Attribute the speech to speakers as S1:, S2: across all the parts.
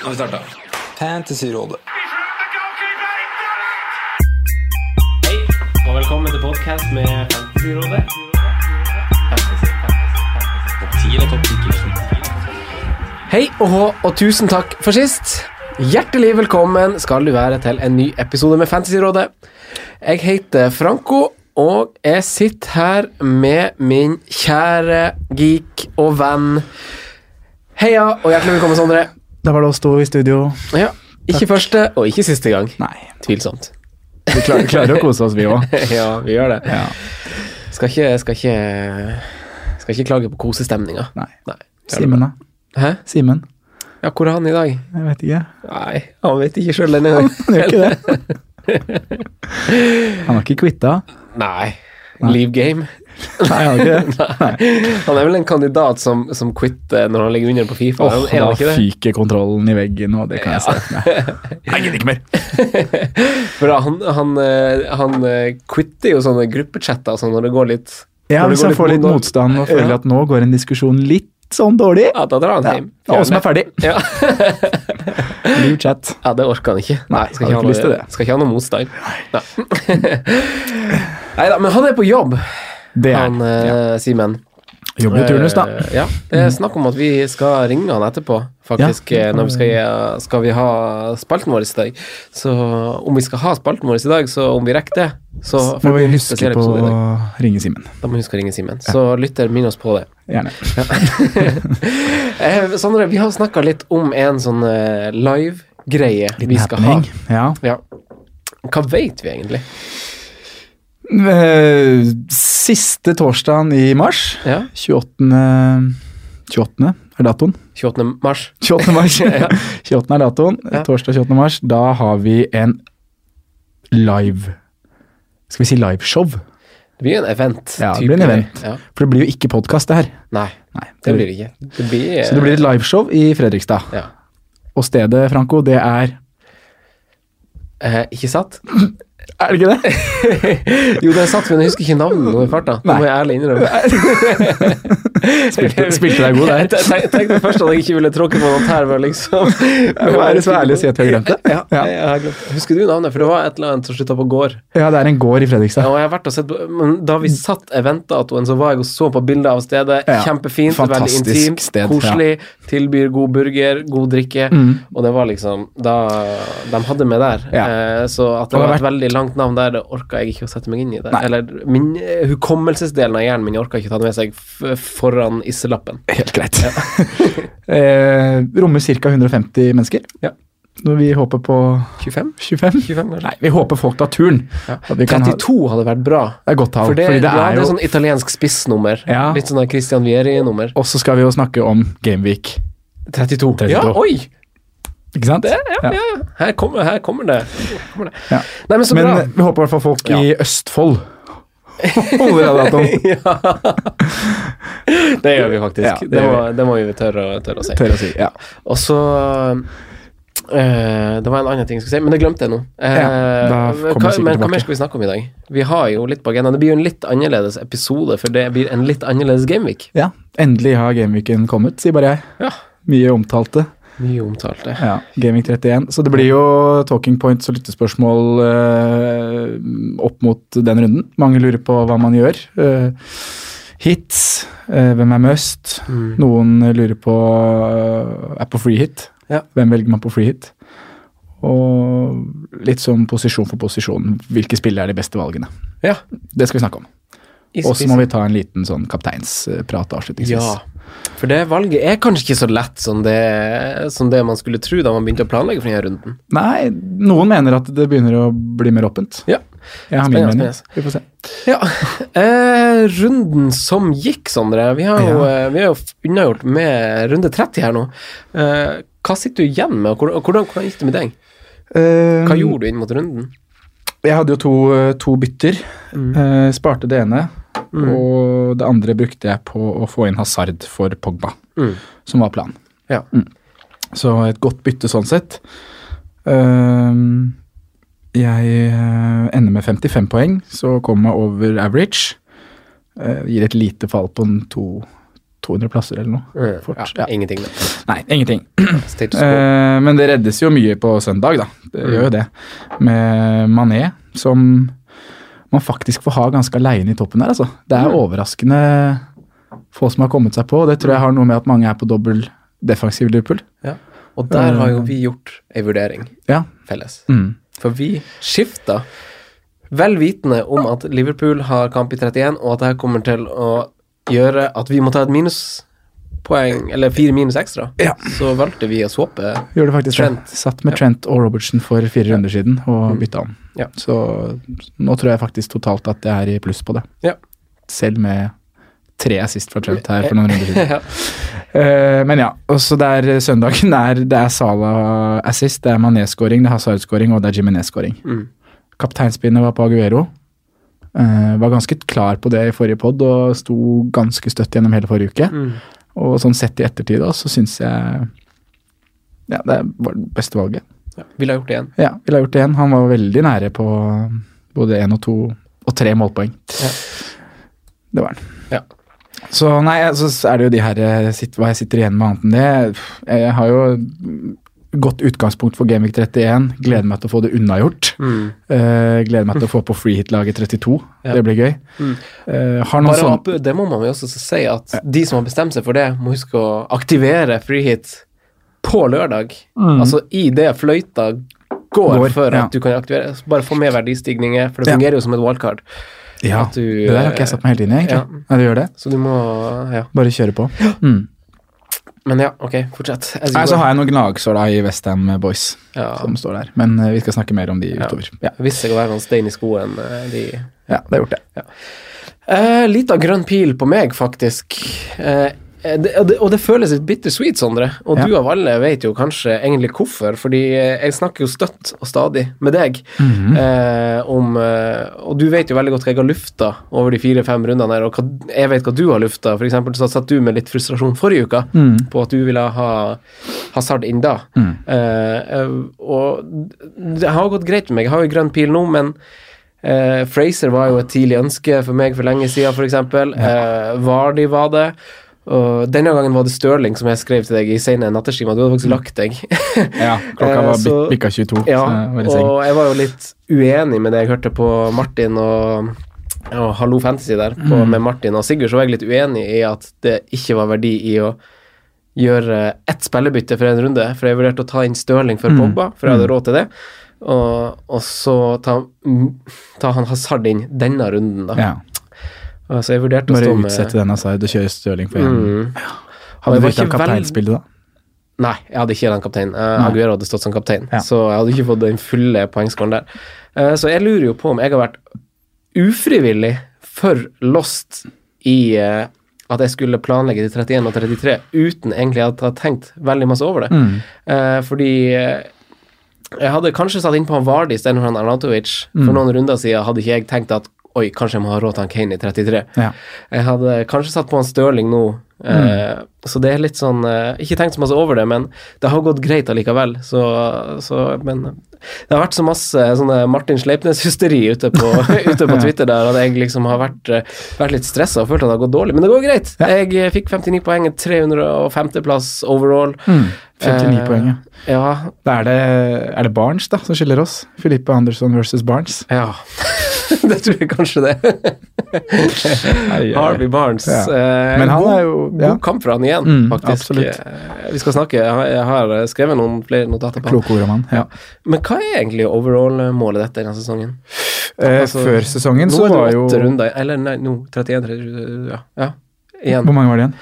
S1: Nå har vi starta.
S2: Fantasyrådet.
S3: Hei, og velkommen til podcast med Fantasyrådet. Hei og hå, og tusen takk for sist. Hjertelig velkommen skal du være til en ny episode med Fantasyrådet. Jeg heter Franco, og jeg sitter her med min kjære geek og venn. Heia, og hjertelig velkommen, Sondre.
S4: Da var det oss to i studio.
S3: Ja, ikke første og ikke siste gang.
S4: Nei.
S3: Tvilsomt.
S4: Vi klarer, klarer å kose oss, vi òg.
S3: Ja, vi gjør det.
S4: Ja.
S3: Skal ikke, skal ikke, skal ikke klage på kosestemninga.
S4: Nei.
S3: Nei.
S4: Simen, da.
S3: Hæ?
S4: Simen.
S3: Ja, hvor er han i dag?
S4: Jeg vet ikke.
S3: Nei, han vet ikke sjøl denne gangen.
S4: Han gjør ikke det. Han har ikke quitta.
S3: Nei. Leave game.
S4: Nei, han har ikke det.
S3: Han er vel en kandidat som, som quitter når han ligger under på Fifa.
S4: Åh,
S3: er
S4: da
S3: han ikke det?
S4: fyker kontrollen i veggen, og det kan jeg snakke med. Jeg gidder ikke mer.
S3: For da, han, han, eh, han eh, quitter jo sånne gruppechatter og sånn når det går litt
S4: Ja,
S3: når det
S4: Hvis
S3: går
S4: han får litt motstand og føler
S3: Ja.
S4: at nå går en diskusjon litt sånn dårlig
S3: Ja, da drar han
S4: ja.
S3: hjem.
S4: Og som er ferdig.
S3: Ja.
S4: Leave chat.
S3: ja, det orker han ikke.
S4: Nei,
S3: skal ikke,
S4: har ikke
S3: ha
S4: lyst til
S3: noe,
S4: det.
S3: skal ikke ha noe motstand. Nei da, men han er på jobb,
S4: Det er
S3: han eh, Simen.
S4: Jobber i turnus, da.
S3: Eh, Ja, det er snakk om at vi skal ringe han etterpå, faktisk.
S4: Ja, det
S3: eh,
S4: kan
S3: når vi skal, gi- skal vi ha spalten vår i dag. Så om vi skal ha spalten vår i dag, så om vi rekker det, så
S4: Må
S3: får
S4: vi
S3: vi en
S4: huske
S3: spesiell
S4: på
S3: episode i
S4: å
S3: dag.
S4: ringe Simen.
S3: Da må vi huske å ringe Simen. Så lytter, minn oss på det.
S4: Gjerne.
S3: Eh, Sondre, vi har snakka litt om en sånn eh, live-greie vi
S4: Liten
S3: skal
S4: happening. Ja.
S3: ha. Ja. Hva veit vi egentlig?
S4: Eh, Siste torsdagen i mars.
S3: Ja,
S4: 28. 28. er datoen.
S3: 28. mars.
S4: 28. mars. 28. er datoen. Torsdag 28. mars. Da har vi en live Skal vi si liveshow?
S3: Det blir jo en event.
S4: Ja, det
S3: type
S4: blir en
S3: greie.
S4: event.
S3: Ja.
S4: For det blir jo ikke podkast, det her.
S3: Nei,
S4: Nei,
S3: det blir det ikke. Det blir,
S4: Så det blir et liveshow i Fredrikstad.
S3: ja.
S4: Og stedet, Franco, det er
S3: eh, Ikke sant?
S4: Er det ikke det?
S3: Jo, det er satt, men jeg husker ikke navnet nå i farta. Det må jeg ærlig innrømme.
S4: Spilte, spilte deg god
S3: Jeg
S4: der.
S3: tenk- tenkte først at jeg ikke ville tråkke på noen tær, men liksom
S4: Jeg må være så ærlig å si at jeg har glemt det.
S3: Ja, jeg har glemt. Husker du navnet? For det var et eller annet som slutta på gård.
S4: Ja, det er en gård i
S3: Ja,
S4: Fredrikstad.
S3: Og jeg har vært og sett på, men da vi satt eventdatoen, så var jeg og så på bilder av stedet.
S4: Ja,
S3: Kjempefint, veldig
S4: fantastisk
S3: intimt,
S4: sted, Mm.
S3: koselig. Tilbyr god burger, god drikke. Og det var liksom da de hadde meg der.
S4: Ja.
S3: Eh, Så at det
S4: Og det
S3: var
S4: har
S3: et veldig langt navn der, det orka jeg ikke å sette meg inn i. det
S4: Nei.
S3: Eller min eh, hukommelsesdelen av hjernen min orka ikke ta det med seg f foran isselappen.
S4: Helt greit. eh, rommer ca. 150 mennesker.
S3: Ja.
S4: Når vi håper på
S3: 25?
S4: 25?
S3: 25 kanskje?
S4: Nei, vi håper folk tar turen. At vi kan ha,
S3: 32 hadde vært bra.
S4: det er godt tall.
S3: For det,
S4: fordi det
S3: ja,
S4: er
S3: det
S4: jo,
S3: er sånn italiensk spissnummer.
S4: Ja.
S3: Litt sånn Christian Vieri-nummer.
S4: Og så skal vi jo snakke om Gameweek.
S3: 32. Ja,
S4: 32.
S3: oi!
S4: Ikke sant?
S3: Det, ja, ja. ja. Her, kommer, her kommer det. Her kommer det.
S4: Ja.
S3: Nei, men så
S4: Men
S3: bra.
S4: eh, vi håper i hvert fall folk
S3: Ja.
S4: i Østfold holder av datoen.
S3: Det gjør vi faktisk.
S4: Ja,
S3: det,
S4: det gjør
S3: må, det må vi tørre, å- tørre å si.
S4: Tør å si. Ja.
S3: Og så eh, Det var en annen ting jeg skulle si, men det glemte jeg nå. Eh,
S4: Ja, da kommer
S3: hva,
S4: jeg sikkert
S3: men hva
S4: tilbake.
S3: mer skal vi snakke om i dag? Vi har jo litt på agendaen. Det blir jo en litt annerledes episode, for det blir en litt annerledes Gameweek.
S4: ja. Endelig har Gameweeken kommet, sier bare jeg.
S3: Ja.
S4: Mye omtalte.
S3: Mye omtalt, det.
S4: Ja, Gaming 31. Så det blir jo talking points og lyttespørsmål eh, opp mot den runden. Mange lurer på hva man gjør. Eh, hits, eh, hvem er must?
S3: Mm.
S4: Noen lurer på eh, er på free hit.
S3: Ja.
S4: Hvem velger man på free hit? Og litt sånn posisjon for posisjon. Hvilke spill er de beste valgene?
S3: Ja.
S4: Det skal vi snakke om.
S3: i
S4: Og så må
S3: spissen.
S4: vi ta en liten sånn kapteinsprat avslutningsvis.
S3: Ja, for det valget er kanskje ikke så lett som det, som det man skulle tro da man begynte å planlegge for denne runden.
S4: Nei, noen mener at det begynner å bli mer åpent.
S3: Ja.
S4: Jeg har min
S3: Spennende,
S4: mening.
S3: spennende.
S4: Vi får se.
S3: ja. Eh, runden som gikk, Sondre. Vi har jo,
S4: Ja.
S3: eh, vi er jo f- unnagjort med runde 30 her nå. Eh, hva sitter du igjen med, og hvordan, hvordan, hvordan gikk det med deg?
S4: Mm.
S3: Hva gjorde du inn mot runden?
S4: Ehm, Jeg hadde jo to, to bytter.
S3: Mm.
S4: Eh, sparte det ene, og det andre brukte jeg på å få inn Hazard for Pogba,
S3: Mm.
S4: som var planen.
S3: Ja.
S4: Så et godt bytte sånn sett. Ehm, jeg eh, ender med 55 poeng, så kommer jeg over average. Eh, gir et lite fall på en to- 200 plasser eller noe.
S3: Mm,
S4: Eh, Fort,
S3: ja.
S4: ja.
S3: Ingenting, da.
S4: Nei, ingenting.
S3: Status quo.
S4: Eh, men det reddes jo mye på søndag, da. Det
S3: Mm.
S4: gjør jo det. Med Mané, som man faktisk får ha ganske aleine i toppen der, altså. Det
S3: Mm.
S4: er overraskende få som har kommet seg på, og det tror jeg har noe med at mange er på dobbel defensiv Liverpool.
S3: Ja. Og der har jo vi gjort ei vurdering
S4: eh. Ja.
S3: felles.
S4: Mm.
S3: For vi skifta, vel vitende om at Liverpool har kamp i 31, og at det her kommer til å gjøre at vi må ta et minuspoeng, eller fire minus ekstra,
S4: Ja.
S3: så valgte vi å swappe.
S4: Gjorde det faktisk
S3: Trent. Mm.
S4: det. Satt med Trent og Robertsen for fire runder siden og bytta om.
S3: Ja.
S4: Så nå tror jeg faktisk totalt at jeg er i pluss på det.
S3: Ja.
S4: Selv med tre assist fra Trent her for noen runder siden.
S3: ja.
S4: Eh, men ja, og så det er eh, søndagen. Det er, det er Salah assist, det er Mané-skåring, det er Hazard-skåring og det er Jiminez-skåring.
S3: Mm.
S4: Kapteinspinnet var på Aguero. Eh, var ganske klar på det i forrige pod og sto ganske støtt gjennom hele forrige uke.
S3: Mm.
S4: Og sånn sett i ettertid da, så syns jeg ja, det var det beste valget.
S3: Ja. Ville ha gjort det igjen.
S4: Ja, ville ha gjort det igjen. Han var veldig nære på både én og to og tre målpoeng.
S3: Ja.
S4: Det var han.
S3: Ja.
S4: Så nei, altså, så er det jo de her eh, sitt- hva jeg sitter igjen med annet enn det. Jeg har jo godt utgangspunkt for Gamevik 31. Gleder meg til å få det unnagjort.
S3: Mm.
S4: Eh, gleder meg til å få på freehit-laget 32.
S3: Ja.
S4: Det blir gøy.
S3: Mm.
S4: Eh, har noen
S3: Bare
S4: sånn
S3: opp- det må man jo også si, at de som har bestemt seg for det, må huske å aktivere freehit på lørdag. Altså i det fløyta går,
S4: Mm. Går,
S3: for at
S4: ja.
S3: du kan aktivere. Så Bare få med verdistigninger, for det
S4: Ja.
S3: fungerer jo som et wildcard.
S4: Ja,
S3: at du,
S4: det der har ikke jeg satt meg helt inn i, egentlig.
S3: ja.
S4: Ja. det gjør det.
S3: Så du må Ja.
S4: Bare kjøre på. Mm.
S3: Men ja, ok, fortsett. As you
S4: Nei,
S3: go.
S4: så har jeg noen gnagsår da i Westham Boys.
S3: ja.
S4: som står der. Men eh, vi skal snakke mer om de utover. Ja,
S3: Hvis jeg kan være noen stein i skoen eh, de
S4: ja det har gjort det.
S3: eh, Lita grønn pil på meg, faktisk. Eh, eh, det, og det- og det føles litt bittersweet, Sondre. Og
S4: Ja.
S3: du av alle vet jo kanskje egentlig hvorfor, fordi eh, jeg snakker jo støtt og stadig med deg
S4: Mm.
S3: eh, om eh, Og du vet jo veldig godt hva jeg har lufta over de fire-fem rundene her, og hva, jeg vet hva du har lufta. For eksempel så satt du med litt frustrasjon forrige uke
S4: Mm.
S3: på at du ville ha hasard inn da.
S4: Mm.
S3: Eh, eh, og det har gått greit med meg. Jeg har jo grønn pil nå, men eh, Fraser var jo et tidlig ønske for meg for lenge siden, f.eks. Uh, Vardi var det. Og denne gangen var det Stirling som jeg skrev til deg i sene nattetimer. Du hadde faktisk lagt deg.
S4: Ja, klokka
S3: Eh,
S4: var bik
S3: så-
S4: bikka 22.
S3: ja,
S4: så jeg var i seng.
S3: og jeg var jo litt uenig med det jeg hørte på Martin og, og Hallo Fantasy der, på,
S4: Mm.
S3: med Martin og Sigurd, så var jeg litt uenig i at det ikke var verdi i å gjøre ett spillebytte for en runde, for jeg vurderte å ta inn Stirling
S4: Mm.
S3: for Pogba, for jeg hadde råd til det, og, og så ta, mm, ta han Hazard inn denne runden, da.
S4: ja.
S3: Så jeg vurderte å
S4: Bare
S3: stå med
S4: utsette den Asaid og kjøre Stirling for én.
S3: Mm. Og
S4: Hadde
S3: jeg
S4: du
S3: var
S4: ikke
S3: ikke vel-
S4: kapteinspillet da?
S3: Nei, jeg hadde ikke den kapteinen. Eh, Aguero hadde stått som kaptein,
S4: Ja.
S3: så jeg hadde ikke fått den fulle poengskåren der. Eh, så jeg lurer jo på om jeg har vært ufrivillig for lost i eh, at jeg skulle planlegge de 31 og 33 uten egentlig at jeg hadde tenkt veldig masse over det.
S4: Mm.
S3: Eh, fordi eh, jeg hadde kanskje satt innpå han Vardi istedenfor han Arnatovic. For noen runder siden hadde ikke jeg tenkt at oi, kanskje jeg må ha råd til han Kane i 33.
S4: Ja.
S3: Jeg hadde kanskje satt på en Stirling nå, eh, så det er litt sånn eh, Ikke tenkt så masse over det, men det har gått greit allikevel, så, så Men det har vært så masse sånne Martin Sleipnes-hysteri ute, på- ute på Twitter der at jeg liksom har vært, eh, vært litt stressa og følt at det har gått dårlig, men det går greit. Jeg eh, fikk 59 poeng, 305.-plass overall.
S4: Mm. 59
S3: Eh,
S4: poeng, ja.
S3: Ja,
S4: Da er det, er det Barnes da, som skiller oss. Filippe Anderson versus Barnes.
S3: ja. det tror jeg kanskje det. Harvey Barnes.
S4: Ja.
S3: eh,
S4: Men han
S3: god,
S4: er jo- ja.
S3: god kamp for han igjen,
S4: Mm,
S3: faktisk.
S4: absolutt.
S3: Eh, Vi skal snakke, jeg har- jeg har skrevet noen flere notater på han.
S4: Kloke ord om han. Ja.
S3: Men hva er egentlig overall-målet dette denne sesongen?
S4: Eh,
S3: Altså,
S4: Før sesongen
S3: Nå
S4: så
S3: er
S4: var
S3: det
S4: jo
S3: åtte runder, eller nei, nå 31-37 ja. ja. Igjen.
S4: Hvor mange var det igjen?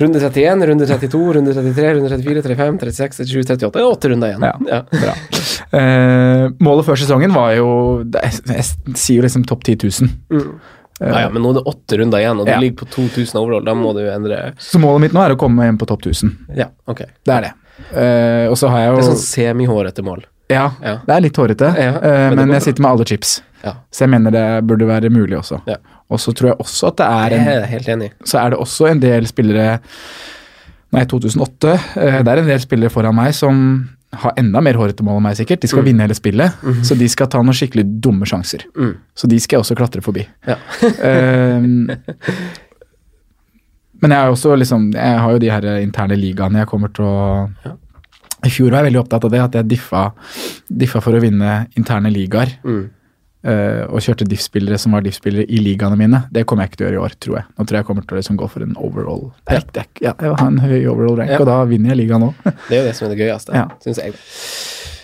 S3: Runde 31, runde 32, runde 33, runde 34, 35, 36, 37, 38. Det er åtte runder igjen. Ja.
S4: Ja. Bra. Eh, målet før sesongen var jo det, Jeg jeg sier jo liksom topp 10 000.
S3: Mm. ja, ja, men nå er det åtte runder igjen, og du
S4: Ja.
S3: ligger på 2000 overall. Da må du endre
S4: Så målet mitt nå er å komme hjem på topp 1000.
S3: Ja, ok.
S4: Det er det. Eh, og så har jeg jo
S3: Det er sånn semihårete mål.
S4: ja,
S3: ja.
S4: det er litt hårete,
S3: Ja,
S4: eh,
S3: men det går
S4: men jeg
S3: bra.
S4: sitter med alle chips.
S3: Ja.
S4: Så jeg mener det burde være mulig også.
S3: Ja.
S4: Og så tror jeg også at det er
S3: Jeg
S4: en,
S3: er helt enig.
S4: så er det også en del spillere Nei, 2008. eh, det er en del spillere foran meg som har enda mer hårete mål enn meg, sikkert. De skal vinne hele spillet, så de skal ta noen skikkelig dumme sjanser.
S3: Mhm. Mm.
S4: Så de skal jeg også klatre forbi.
S3: Ja.
S4: Eh,
S5: Ehm, Men jeg, er jo også, liksom, jeg har jo de her interne ligaene jeg kommer til å
S3: Ja.
S5: I fjor var jeg veldig opptatt av det, at jeg diffa, diffa for å vinne interne ligaer.
S3: Mm.
S5: eh, og kjørte diff-spillere som var diff-spillere i ligaene mine. Det kommer jeg ikke til å gjøre i år, tror jeg. Nå tror jeg jeg kommer til å liksom gå for en overall
S3: Ja.
S5: rank. Det er ikke- Ja, jeg vil ha en høy overall rank,
S3: Ja.
S5: og da vinner jeg ligaen òg.
S3: Det er jo det som er det gøyeste,
S5: Ja.
S3: syns jeg.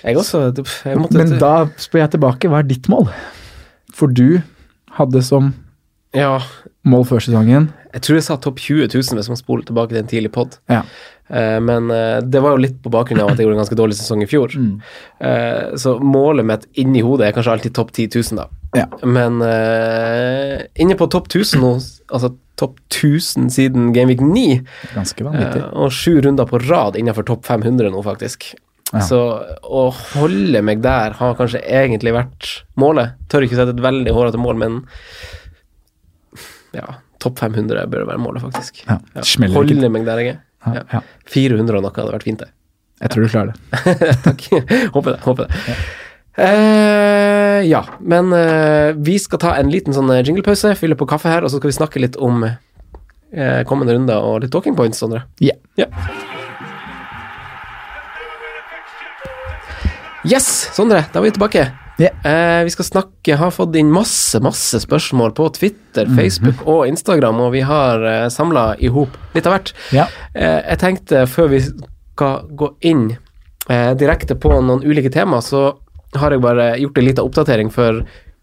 S3: Jeg også. det- pff, Jeg måtte,
S5: Men da spør jeg tilbake, hva er ditt mål? For du hadde som
S3: Ja,
S5: mål før sesongen
S3: jeg tror jeg sa topp 20 000 hvis man spoler tilbake til en tidlig pod.
S5: Ja.
S3: Eh, Men eh, det var jo litt på bakgrunn av at jeg gjorde en ganske dårlig sesong i fjor.
S5: Mm.
S3: Eh, Så målet mitt inni hodet er kanskje alltid topp 10 000, da.
S5: Ja.
S3: Men eh, inne på topp 1000 nå, altså topp 1000 siden Gameweek 9,
S5: Ganske
S3: eh,
S5: vanvittig.
S3: og sju runder på rad innenfor topp 500 nå, faktisk.
S5: Ja.
S3: Så å holde meg der har kanskje egentlig vært målet. Tør ikke sette et veldig hårete mål, men ja, topp 500 bør være målet, faktisk.
S5: Ja. Smeller ikke.
S3: Holde meg der jeg er.
S5: Ja, ja.
S3: 400 og noe hadde vært fint, det.
S5: Jeg tror du klarer det.
S3: Takk. håper det. Håper det. Eh, ja, men eh, vi skal ta en liten sånn eh, jinglepause, fylle på kaffe her, og så skal vi snakke litt om eh, kommende runder og litt talking points, Sondre.
S5: Ja.
S3: Ja. Yes, Sondre, da er vi tilbake.
S5: Ja.
S3: Eh, vi skal snakke, har fått inn masse, masse spørsmål på Twitter,
S5: Mhm.
S3: Facebook og Instagram, og vi har eh, samla i hop litt av hvert.
S5: Ja.
S3: Eh, jeg tenkte, før vi skal gå inn eh, direkte på noen ulike tema, så har jeg bare gjort en liten oppdatering for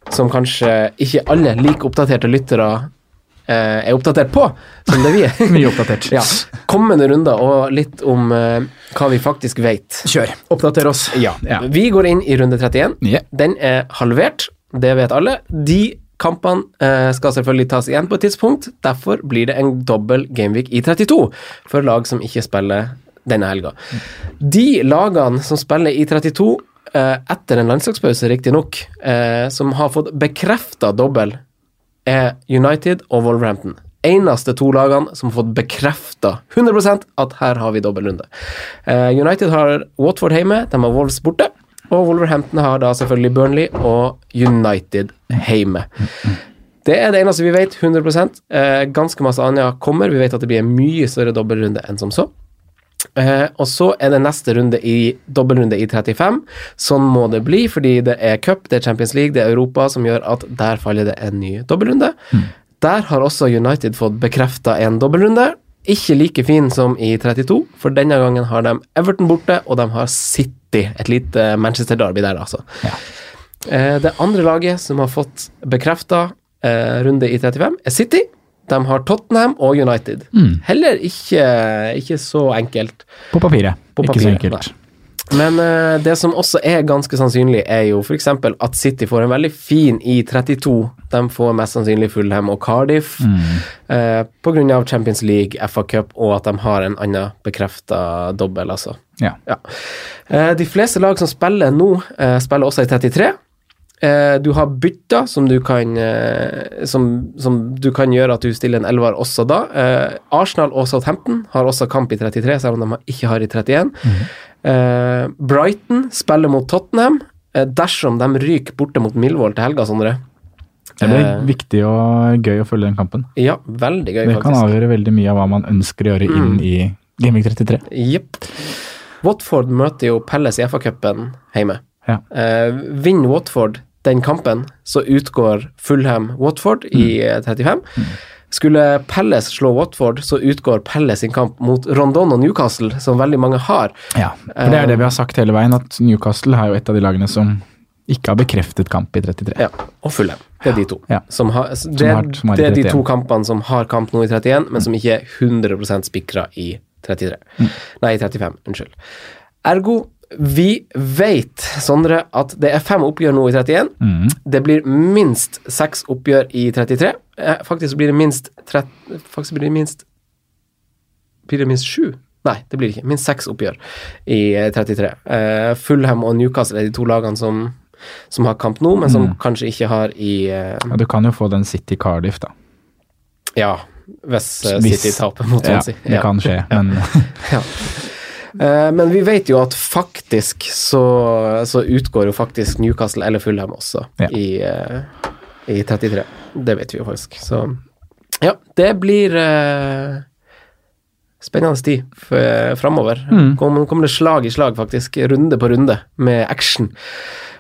S3: som kanskje ikke alle like oppdaterte lyttere eh, er oppdatert på, som det vi er.
S5: Mye oppdatert.
S3: Ja. Kommende runder og litt om eh, hå vi faktisk vet.
S5: Kjør. Oppdater oss.
S3: Ja.
S5: Ja.
S3: Vi går inn i runde 31.
S5: Ja.
S3: Den er halvert, det vet alle. De kampene eh, skal selvfølgelig tas igjen på et tidspunkt. Derfor blir det en dobbel gameweek i 32 for lag som ikke spiller denne helga. De lagene som spiller i 32 eh, etter en landslagspause, riktignok, eh, som har fått bekrefta dobbel, er United og Wolverhampton. Eneste to lagene som har fått bekrefta 100 at her har vi dobbeltrunde. Eh, United har Watford hjemme, de har Wolves borte. Og Wolverhampton har da selvfølgelig Burnley og United hjemme. Det er det eneste vi vet, 100 eh, Ganske masse annet kommer. Vi vet at det blir en mye større dobbeltrunde enn som så. Eh, og så er det neste runde i dobbeltrunde i 35. Sånn må det bli, fordi det er cup, det er Champions League, det er Europa, som gjør at der faller det en ny dobbeltrunde. Der har også United fått bekrefta en dobbeltrunde. Ikke like fin som i 32, for denne gangen har de Everton borte, og de har City. Et lite eh, Manchester Derby der, altså. Eh, Det andre laget som har fått bekrefta eh, runde i 35, er City. De har Tottenham og United. Heller ikke, ikke så enkelt.
S5: På papiret.
S3: På
S5: Ikke så
S3: papiret,
S5: enkelt.
S3: Men eh, det som også er ganske sannsynlig, er jo f.eks. at City får en veldig fin i 32. De får mest sannsynlig Fulham og Cardiff eh, pga. Champions League, FA Cup og at de har en annen bekrefta dobbel, altså.
S5: Ja.
S3: Ja. Eh, De fleste lag som spiller nå, eh, spiller også i 33. Eh, Du har bytter som du kan eh, som, som du kan gjøre at du stiller en elver også da. Eh, Arsenal og Southampton har også kamp i 33, selv om de ikke har i 31.
S5: Mhm.
S3: Eh, Brighton spiller mot Tottenham. Eh, Dersom de ryker borte mot Millwall til helga, Sondre.
S5: Det blir
S3: Eh.
S5: viktig og gøy å følge den kampen.
S3: Ja, veldig gøy,
S5: Det kan
S3: faktisk. Mm.
S5: avgjøre veldig mye av hva man ønsker å gjøre inn i Gaming 33.
S3: Jepp. Watford møter jo Pelles i FA-cupen hjemme.
S5: Ja.
S3: Eh, vinner Watford den kampen, så utgår Fulham-Watford i eh, 35. Skulle Pelles slå Watford, så utgår Pelles sin kamp mot Rondon og Newcastle, som veldig mange har.
S5: Ja, for Det er det vi har sagt hele veien, at Newcastle er jo et av de lagene som ikke har bekreftet kamp i 33.
S3: Ja, og Fulham. Det er de to.
S5: Ja.
S3: Som har, s- det,
S5: har- som har i
S3: det er de
S5: 31.
S3: to kampene som har kamp nå i 31, men som ikke er 100 spikra i 33.
S5: Mm.
S3: Nei, i 35. Unnskyld. Ergo, vi veit, Sondre, at det er fem oppgjør nå i 31.
S5: Mm.
S3: Det blir minst seks oppgjør i 33. Eh, Faktisk så blir det minst tret- Faktisk blir det minst Blir det minst sju? Nei, det blir det ikke. Minst seks oppgjør i eh, 33. Eh, Fulham og Newcastle er de to lagene som, som har kamp nå, men som
S5: Mm.
S3: kanskje ikke har i eh,
S5: Ja, du kan jo få den City Cardiff, da.
S3: Ja, hvis eh,
S5: Hvis-
S3: City taper mot
S5: Ja,
S3: Swansea.
S5: det kan skje, men
S3: Eh, men vi vet jo at faktisk så, så utgår jo faktisk Newcastle eller Fulham også
S5: Ja.
S3: i, eh, i 33. Det vet vi jo faktisk. Så ja, det blir eh, Spennende tid framover.
S4: Mm.
S3: Kommer, kommer det slag i slag, faktisk. Runde på runde med action.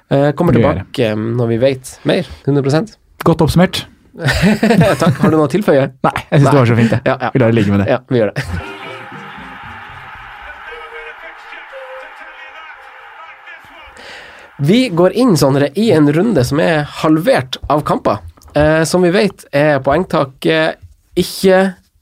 S3: Eh, Kommer
S4: Det gjør det.
S3: tilbake når vi vet mer. 100
S4: Godt oppsummert.
S3: Takk. Har du noe å tilføye?
S4: Nei, jeg syns det var så fint, det.
S3: Ja, ja.
S4: Vi lar det ligge med det.
S3: Ja, vi gjør det. Vi går inn Sondre, i en runde som er halvert av kamper. Eh, som vi vet er poengtaket ikke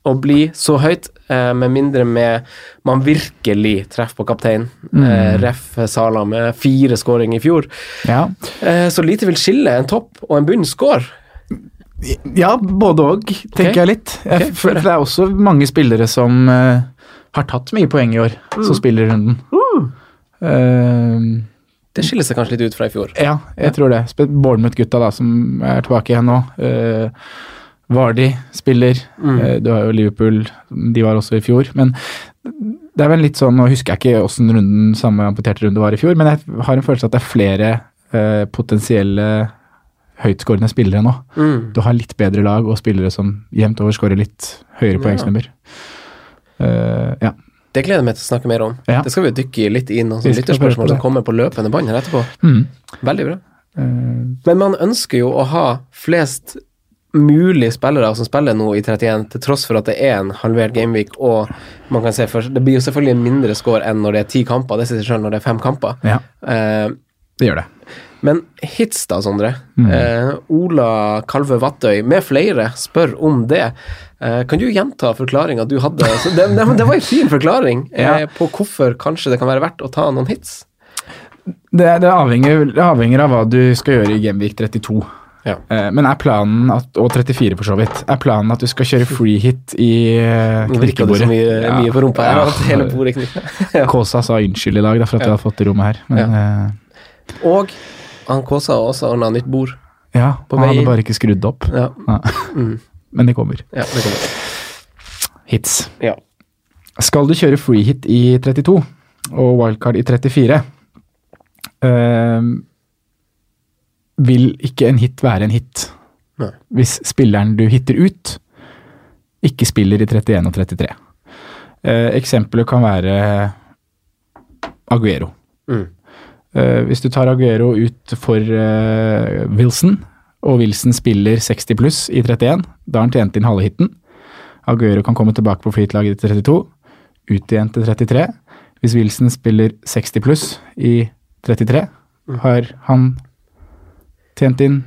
S3: å bli så høyt, eh, med mindre med man virkelig treffer på kapteinen.
S4: Mm.
S3: Eh, ref Sala med fire skåring i fjor.
S4: Ja,
S3: Eh, så lite vil skille en topp og en bunn score.
S4: ja både òg, tenker
S3: Ok.
S4: jeg litt. Jeg,
S3: Ok,
S4: for,
S3: hør det.
S4: det er også mange spillere som eh, har tatt mye poeng i år,
S3: Mm.
S4: som spiller i runden.
S3: Uh.
S4: Eh,
S3: Det skiller seg kanskje litt ut fra i fjor.
S4: Ja, jeg tror det. Spe- Bournemouth-gutta da, som er tilbake igjen nå. Uh, Vardi spiller.
S3: Mm.
S4: Eh, du har jo Liverpool, de var også i fjor. Men det er vel litt sånn, nå husker jeg ikke åssen runden samme amputerte runde var i fjor, men jeg har en følelse at det er flere eh, potensielle høytskårende spillere nå.
S3: Mm.
S4: Du har litt bedre lag og spillere som jevnt over skårer litt høyere
S3: Ja.
S4: poengsnummer. Eh, ja.
S3: Det gleder jeg meg til å snakke mer om.
S4: Ja.
S3: Det skal vi jo dykke litt i noen
S4: Vi
S3: sånne
S4: skal høre på
S3: lytterspørsmål
S4: det.
S3: som kommer på løpende bånd her etterpå.
S4: Mm.
S3: Veldig bra.
S4: Eh,
S3: Men man ønsker jo å ha flest mulig spillere som spiller nå i 31, til tross for at det er en halvert gameweek, og man kan se for Det blir jo selvfølgelig en mindre score enn når det er ti kamper, det sier seg selv når det er fem kamper.
S4: ja,
S3: Eh,
S4: det gjør det.
S3: men hits da, Sondre.
S4: Mm.
S3: Eh, Ola Kalve Vattøy med flere spør om det. Eh, kan du gjenta forklaringa du hadde? Så det, det, det var en fin forklaring eh,
S4: Ja.
S3: på hvorfor kanskje det kan være verdt å ta noen hits.
S4: Det, det, avhenger, det avhenger av hva du skal gjøre i Gameweek 32.
S3: Ja.
S4: Eh, Men er planen at, og 34 for så vidt, er planen at du skal kjøre free hit i eh,
S3: Nå virka det så mye,
S4: Ja.
S3: mye på rumpa her,
S4: Ja.
S3: at hele bordet kniper.
S4: Kåsa sa unnskyld i dag da, for at jeg hadde fått det rommet her, men eh, ja.
S3: Og han Kåsa har også ordna nytt bord.
S4: ja,
S3: På
S4: han
S3: vei Mm.
S4: hadde
S3: inn.
S4: bare ikke skrudd opp.
S3: Ja,
S4: Nei. Men det kommer.
S3: ja det kommer.
S4: Hits.
S3: Ja.
S4: Skal du kjøre free hit i 32 og wildcard i 34, eh, vil ikke en hit være en hit
S3: Nei.
S4: hvis spilleren du hitter ut, ikke spiller i 31 og 33. Eh, eksempler kan være Aguero.
S3: Mm.
S4: Eh, hvis du tar Aguero ut for eh, Wilson, og Wilson spiller 60 pluss i 31, da har han tjent inn halve hiten. Aguero kan komme tilbake på flytlaget i 32, ut igjen til 33. Hvis Wilson spiller 60 pluss i 33, har han tjent inn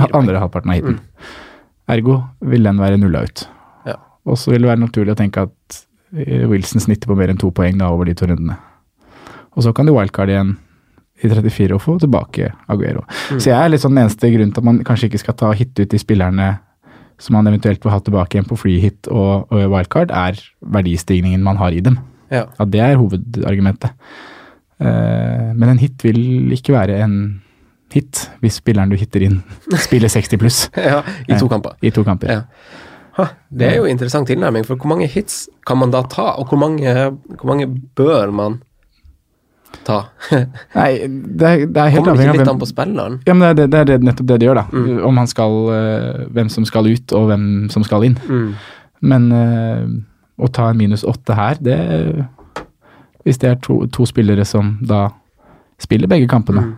S4: ha- andre halvparten av hiten. Ergo vil den være nulla ut.
S3: Ja.
S4: Og så vil det være naturlig å tenke at eh, Wilson snitter på mer enn to poeng da over de to rundene. Og så kan du wildcard igjen i 34 og få tilbake Aguero. Så jeg er litt sånn den eneste grunnen til at man kanskje ikke skal ta hit ut de spillerne som man eventuelt vil ha tilbake igjen på free hit og, og wildcard, er verdistigningen man har i dem.
S3: Ja.
S4: Ja, det er hovedargumentet. Eh, men en hit vil ikke være en hit hvis spilleren du hitter inn, spiller 60 pluss
S3: ja. I to kamper.
S4: i to kamper.
S3: Ja. Ha, det er jo interessant tilnærming, for hvor mange hits kan man da ta, og hvor mange, hvor mange bør man ta?
S4: Nei, det er, det er helt
S3: Kommer det ikke
S4: avhengig av
S3: litt
S4: hvem
S3: an på Mm. spilleren?
S4: ja, men det, er det, det er det, nettopp det det gjør, da. Om han skal, eh, hvem som skal ut, og hvem som skal inn.
S3: Mm.
S4: Men eh, å ta en minus åtte her, det Hvis det er to, to spillere som da spiller begge kampene,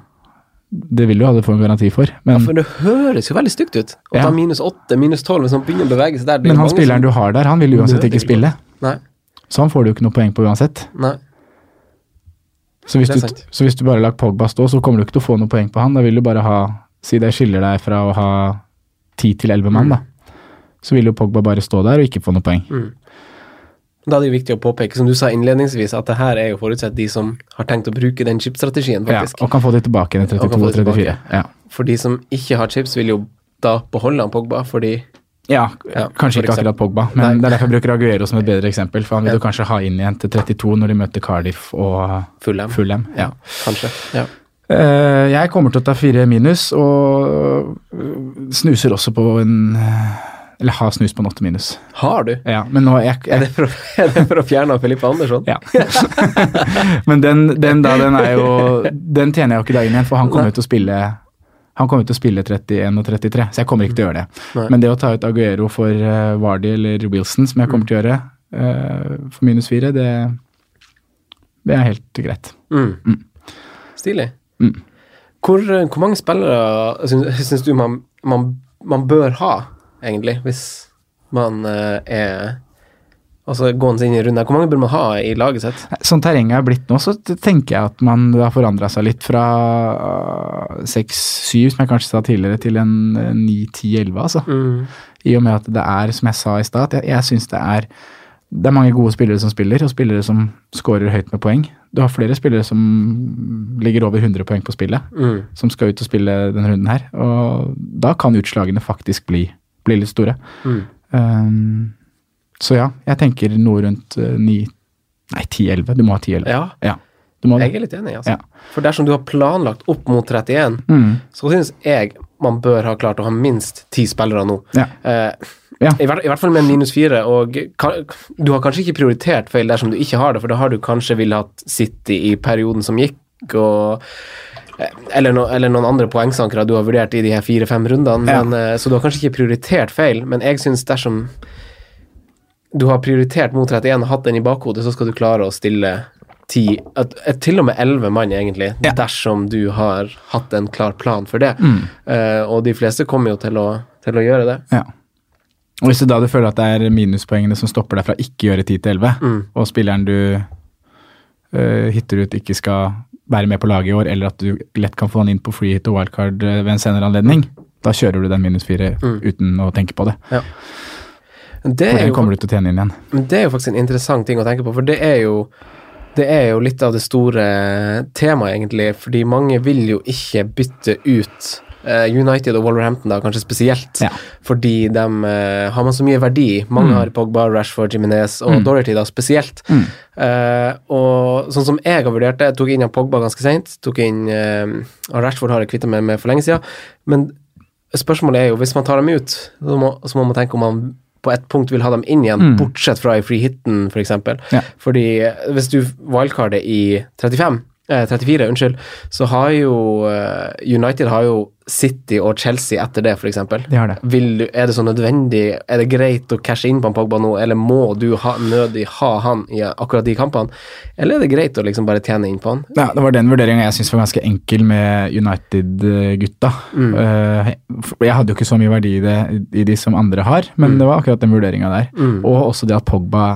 S4: det vil du aldri få en garanti for. Men,
S3: Mm. For det høres jo veldig stygt ut å
S4: Ja.
S3: ta minus åtte, minus tolv, hvis man begynner å bevege seg der.
S4: men han spilleren du har der, han vil uansett
S3: Nødig.
S4: ikke spille.
S3: Nei,
S4: Så han får du jo ikke noe poeng på uansett.
S3: nei.
S4: Så hvis,
S3: Det er
S4: du,
S3: sant.
S4: så hvis du bare lar Pogba stå, så kommer du ikke til å få noe poeng på han. Da vil du bare ha Si det skiller deg fra å ha ti til elleve mann,
S3: Mm.
S4: da. Så vil jo Pogba bare stå der og ikke få noe poeng.
S3: Da er det jo viktig å påpeke, som du sa innledningsvis, at det her er jo forutsett de som har tenkt å bruke den chipstrategien,
S4: Ja,
S3: faktisk.
S4: og kan få de tilbake igjen i
S3: Og kan
S4: 32
S3: få
S4: og
S3: de tilbake.
S4: 34. Ja.
S3: For de som ikke har chips, vil jo da beholde han Pogba, fordi
S4: Ja,
S3: Ja, for
S4: kanskje ikke
S3: eksempel.
S4: akkurat Pogba, men
S3: Nei.
S4: det er derfor jeg bruker Aguero som et bedre eksempel. For han vil
S3: Ja.
S4: du kanskje ha inn igjen til 32 når de møter Cardiff og
S3: Fulham,
S4: Fulham. Ja.
S3: kanskje. Ja.
S4: Eh, jeg kommer til å ta fire minus, og øh, snuser også på en eh, Eller har snus på en åtte minus.
S3: Har du?
S4: Ja, men nå jeg,
S3: Er
S4: jeg
S3: det for å, er det for å fjerne han Felipe Andersson?
S4: ja. Men den, den da, den er jo Den tjener jeg jo ikke dagen igjen, for han kommer jo til å spille han kommer jo til å spille 31 og 33, så jeg kommer ikke til å gjøre det.
S3: Nei.
S4: Men det å ta ut Aguero for eh, Vardy eller Wilson, som jeg kommer til å gjøre, eh, for minus fire, det, det er helt greit.
S3: Mm.
S4: Mm.
S3: Stilig.
S4: Mm.
S3: Hvor, eh, hvor mange spillere syns, syns du man, man, man bør ha, egentlig, hvis man eh, er Altså gående inn i runden her. Hvor mange bør man ha i laget sitt?
S4: Sånn terrenget er blitt nå, så t- tenker jeg at man det har forandra seg litt fra seks-syv, som jeg kanskje sa tidligere, til en eh, ni-ti-elleve, altså.
S3: Mm.
S4: I og med at det er, som jeg sa i stad, at jeg, jeg syns det er det er mange gode spillere som spiller, og spillere som scorer høyt med poeng. Du har flere spillere som ligger over 100 poeng på spillet,
S3: Mm.
S4: som skal ut og spille denne runden her. Og da kan utslagene faktisk bli, bli litt store.
S3: Mm.
S4: Ehm, så ja, jeg tenker noe rundt eh, ni Nei, 10-11. Du må ha 10-11.
S3: Ja,
S4: Du må det.
S3: jeg er litt enig, altså.
S4: Ja.
S3: For dersom du har planlagt opp mot 31,
S4: Mm,
S3: så syns jeg man bør ha klart å ha minst ti spillere nå.
S4: ja.
S3: Eh,
S4: Ja.
S3: i, hvert, I hvert fall med minus fire, og ka- du har kanskje ikke prioritert feil dersom du ikke har det, for da har du kanskje ville hatt City i perioden som gikk, og eh, eller, no, eller noen andre poengsankere du har vurdert i de her fire-fem rundene,
S4: Ja.
S3: men, eh, så du har kanskje ikke prioritert feil, men jeg syns dersom du har prioritert mot 31 og hatt den i bakhodet, så skal du klare å stille 10, at, at til og med 11 mann, egentlig,
S4: Ja.
S3: dersom du har hatt en klar plan for det.
S4: Mm,
S3: Eh, og de fleste kommer jo til å, til å gjøre det.
S4: ja. Og hvis du da du føler at det er minuspoengene som stopper deg fra ikke gjøre 10-11,
S3: Mm.
S4: og spilleren du eh, hitter ut ikke skal være med på laget i år, eller at du lett kan få han inn på free hit og wildcard eh, ved en senere anledning, da kjører du den minus fire
S3: Mm.
S4: uten å tenke på det.
S3: Det
S4: For
S3: er,
S4: den
S3: jo,
S4: kommer du til å tjene inn igjen.
S3: men det er jo faktisk en interessant ting å tenke på, for det er jo det er jo litt av det store temaet, egentlig, fordi mange vil jo ikke bytte ut eh, United og Wolverhampton, da, kanskje spesielt,
S4: Ja.
S3: fordi de eh, har man så mye verdi i. Mange
S4: Mm.
S3: har Pogba, Rashford, Jiminez og
S4: Mm.
S3: Doherty, da, spesielt.
S4: Mm.
S3: Eh, og sånn som jeg har vurdert det, jeg tok inn han Pogba ganske seint. Tok inn eh, og Rashford har jeg kvittet meg med for lenge siden. Men spørsmålet er jo, hvis man tar dem ut, så må, så må man tenke om man på et punkt vil ha dem inn igjen,
S4: Mm.
S3: bortsett fra i free hitten, f.eks. For eksempel.
S4: Ja.
S3: Fordi eh, hvis du wildcarder i 35 eh, 34, unnskyld, så har jo eh, United har jo City og Chelsea etter det, f.eks.
S4: De har det.
S3: Vil du, er det så nødvendig, er det greit å cashe inn på han Pogba nå, eller må du ha, nødig ha han i akkurat de kampene? Eller er det greit å liksom bare tjene inn på han?
S4: Ja, det var den vurderinga jeg syns var ganske enkel med United-gutta.
S3: Mm.
S4: Eh, for jeg hadde jo ikke så mye verdi i det i de som andre har, men det var akkurat den vurderinga der.
S3: Mm.
S4: Og også det at Pogba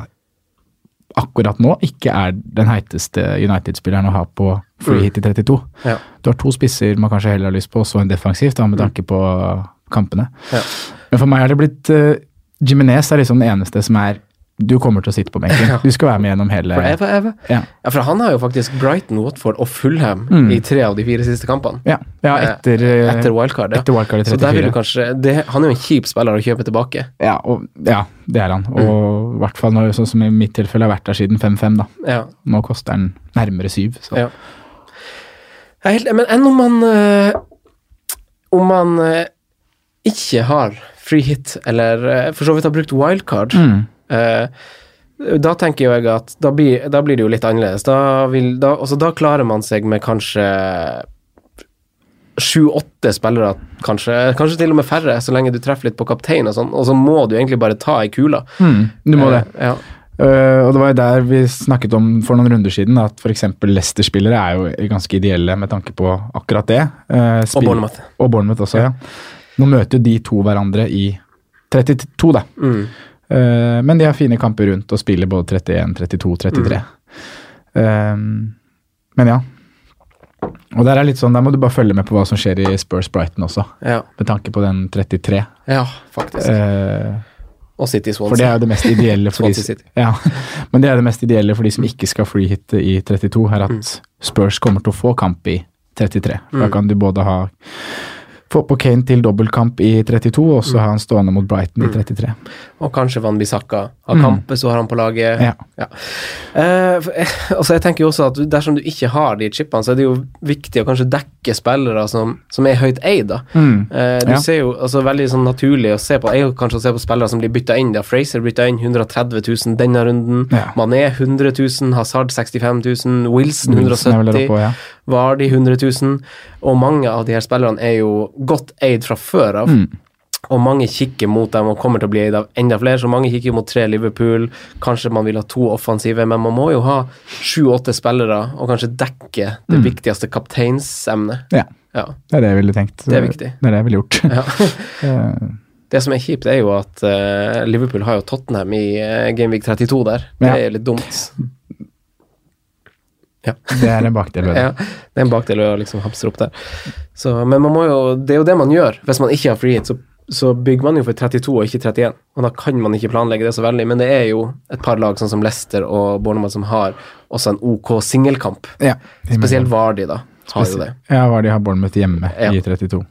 S4: akkurat nå ikke er den heiteste United-spilleren å ha på free hit i 32.
S3: Mm. Ja. Mm.
S4: Du har to spisser man kanskje heller har lyst på, og så en defensivt, da, med tanke på kampene.
S3: Ja.
S4: Men for meg har det blitt uh, Jiminez er liksom den eneste som er Du kommer til å sitte på benken. Du skal være med gjennom hele
S3: Forever, ever.
S4: Ja.
S3: Ja, for han har jo faktisk Brighton, Watford og Fulham
S4: Mm.
S3: i tre av de fire siste kampene.
S4: Ja, ja
S3: Eh,
S4: etter, eh,
S3: Etter wildcard, ja.
S4: etter wildcard i 34.
S3: Så der vil du kanskje det, Han er jo en kjip spiller å kjøpe tilbake.
S4: Ja, og, ja, det er han.
S3: Mm.
S4: Og i hvert fall når, sånn som i mitt tilfelle har vært der siden 5-5, da.
S3: Ja.
S4: Nå koster den nærmere 7, så
S3: Ja. Jeg er helt, men enn om man eh, Om man eh, ikke har free hit, eller eh, for så vidt har brukt wildcard,
S4: mm.
S3: eh, da tenker jo jeg at da blir, da blir det jo litt annerledes. Da, vil, da, altså, da klarer man seg med kanskje sju-åtte spillere, kanskje. Kanskje til og med færre, så lenge du treffer litt på kaptein og sånn. Og så må du egentlig bare ta i kula.
S4: Mm, Du må det.
S3: Eh, ja.
S4: Eh, og det var jo der vi snakket om for noen runder siden, da, at f.eks. Leicester-spillere er jo ganske ideelle med tanke på akkurat det. Eh, spill-
S3: Og Bournemouth.
S4: Og Bournemouth også, ja. Nå møter jo de to hverandre i 32, da.
S3: Mm.
S4: Eh, men de har fine kamper rundt og spiller både 31, 32, 33.
S3: Mm.
S4: Eh, men ja. Og der er litt sånn, der må du bare følge med på hva som skjer i Spurs Brighton også,
S3: Ja.
S4: med tanke på den 33.
S3: ja, faktisk.
S4: Eh,
S3: Og City
S4: for det
S3: Swansea.
S4: er jo det mest ideelle for de,
S3: Swansea City.
S4: ja, men det er det mest ideelle for de som ikke skal freehitte i 32, er at
S3: Mm.
S4: Spurs kommer til å få kamp i 33. Da kan du både ha få på Kane til dobbeltkamp i 32, og
S3: Mm.
S4: så ha han stående mot Brighton i 33.
S3: Og kanskje Van Bissaka har kampe, så har han på laget.
S4: Mm. Ja.
S3: Eh, for- og så jeg tenker jo også at Dersom du ikke har de chipene, så er det jo viktig å kanskje dekke spillere som, som er høyt eid. da.
S4: Mm.
S3: Eh, du
S4: Ja.
S3: ser jo altså, veldig sånn naturlig å se på Jeg kanskje å se på spillere som blir bytta inn. da. Fraser bytta inn 130 000 denne runden.
S4: Ja.
S3: Mané 100 000, Hazard 65 000, Wilson
S4: Wilson er vel der
S3: 170
S4: oppe, ja.
S3: Vardy 100 000. Og mange av de her spillerne er jo godt eid fra før av.
S4: Mm.
S3: Og mange kikker mot dem og kommer til å bli eid av enda flere. Så mange kikker mot tre Liverpool. Kanskje man vil ha to offensive, men man må jo ha sju-åtte spillere og kanskje dekke det viktigste kapteinsemnet.
S4: Ja,
S3: Ja,
S4: det er det jeg ville tenkt.
S3: Det er viktig.
S4: Det er det jeg ville gjort.
S3: ja.
S4: Eh,
S3: Det som er kjipt, er jo at eh, Liverpool har jo Tottenham i eh, Gameweek 32 der. Det
S4: Ja.
S3: er litt dumt.
S4: det er en bakdel ved det.
S3: Ja, det er en bakdel å liksom hamstre opp der. Så, men man må jo, det er jo det man gjør. Hvis man ikke har free hit, så, så bygger man jo for 32 og ikke 31. Og da kan man ikke planlegge det så veldig. Men det er jo et par lag, sånn som Leicester og Bournemouth, som har også en OK singelkamp.
S4: Ja.
S3: Spesielt Vardy, da. Har jo det.
S4: Ja, hva er det de har Bournemouth hjemme
S3: Ja.
S4: i 32?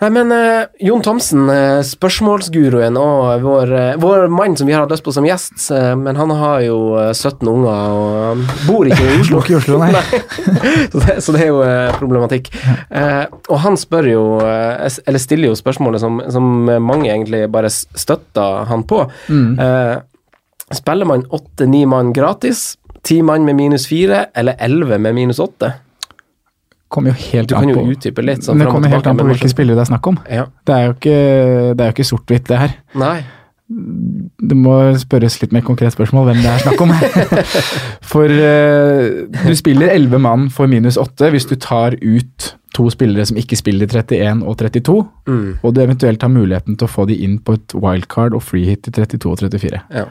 S3: Nei, men eh, Jon Thomsen, eh, spørsmålsguruen og vår, eh, vår mann som vi har hatt lyst på som gjest, eh, men han har jo eh, 17 unger og eh, bor ikke i Oslo.
S4: Bor ikke i Oslo, nei.
S3: så, det, så det er jo eh, problematikk. Eh, og han spør jo, eh, s- eller stiller jo spørsmålet som, som mange egentlig bare s- støtter han på. Eh, spiller man åtte-ni mann gratis, ti mann med minus fire, eller elleve med minus åtte?
S4: Kommer jo helt
S3: Du kan
S4: an på
S3: jo utdype litt. sånn
S4: Men det
S3: fram og
S4: kommer helt
S3: tilbake,
S4: an på
S3: men-
S4: hvilke spillere det er snakk om.
S3: ja.
S4: Det er jo ikke, det er jo ikke sort-hvitt, det her.
S3: Nei.
S4: Det må spørres litt mer konkret spørsmål hvem det er snakk om. for eh, du spiller 11 mann for minus 8 hvis du tar ut to spillere som ikke spiller 31 og 32,
S3: Mm.
S4: og du eventuelt har muligheten til å få de inn på et wildcard og free hit til 32 og 34.
S3: Ja.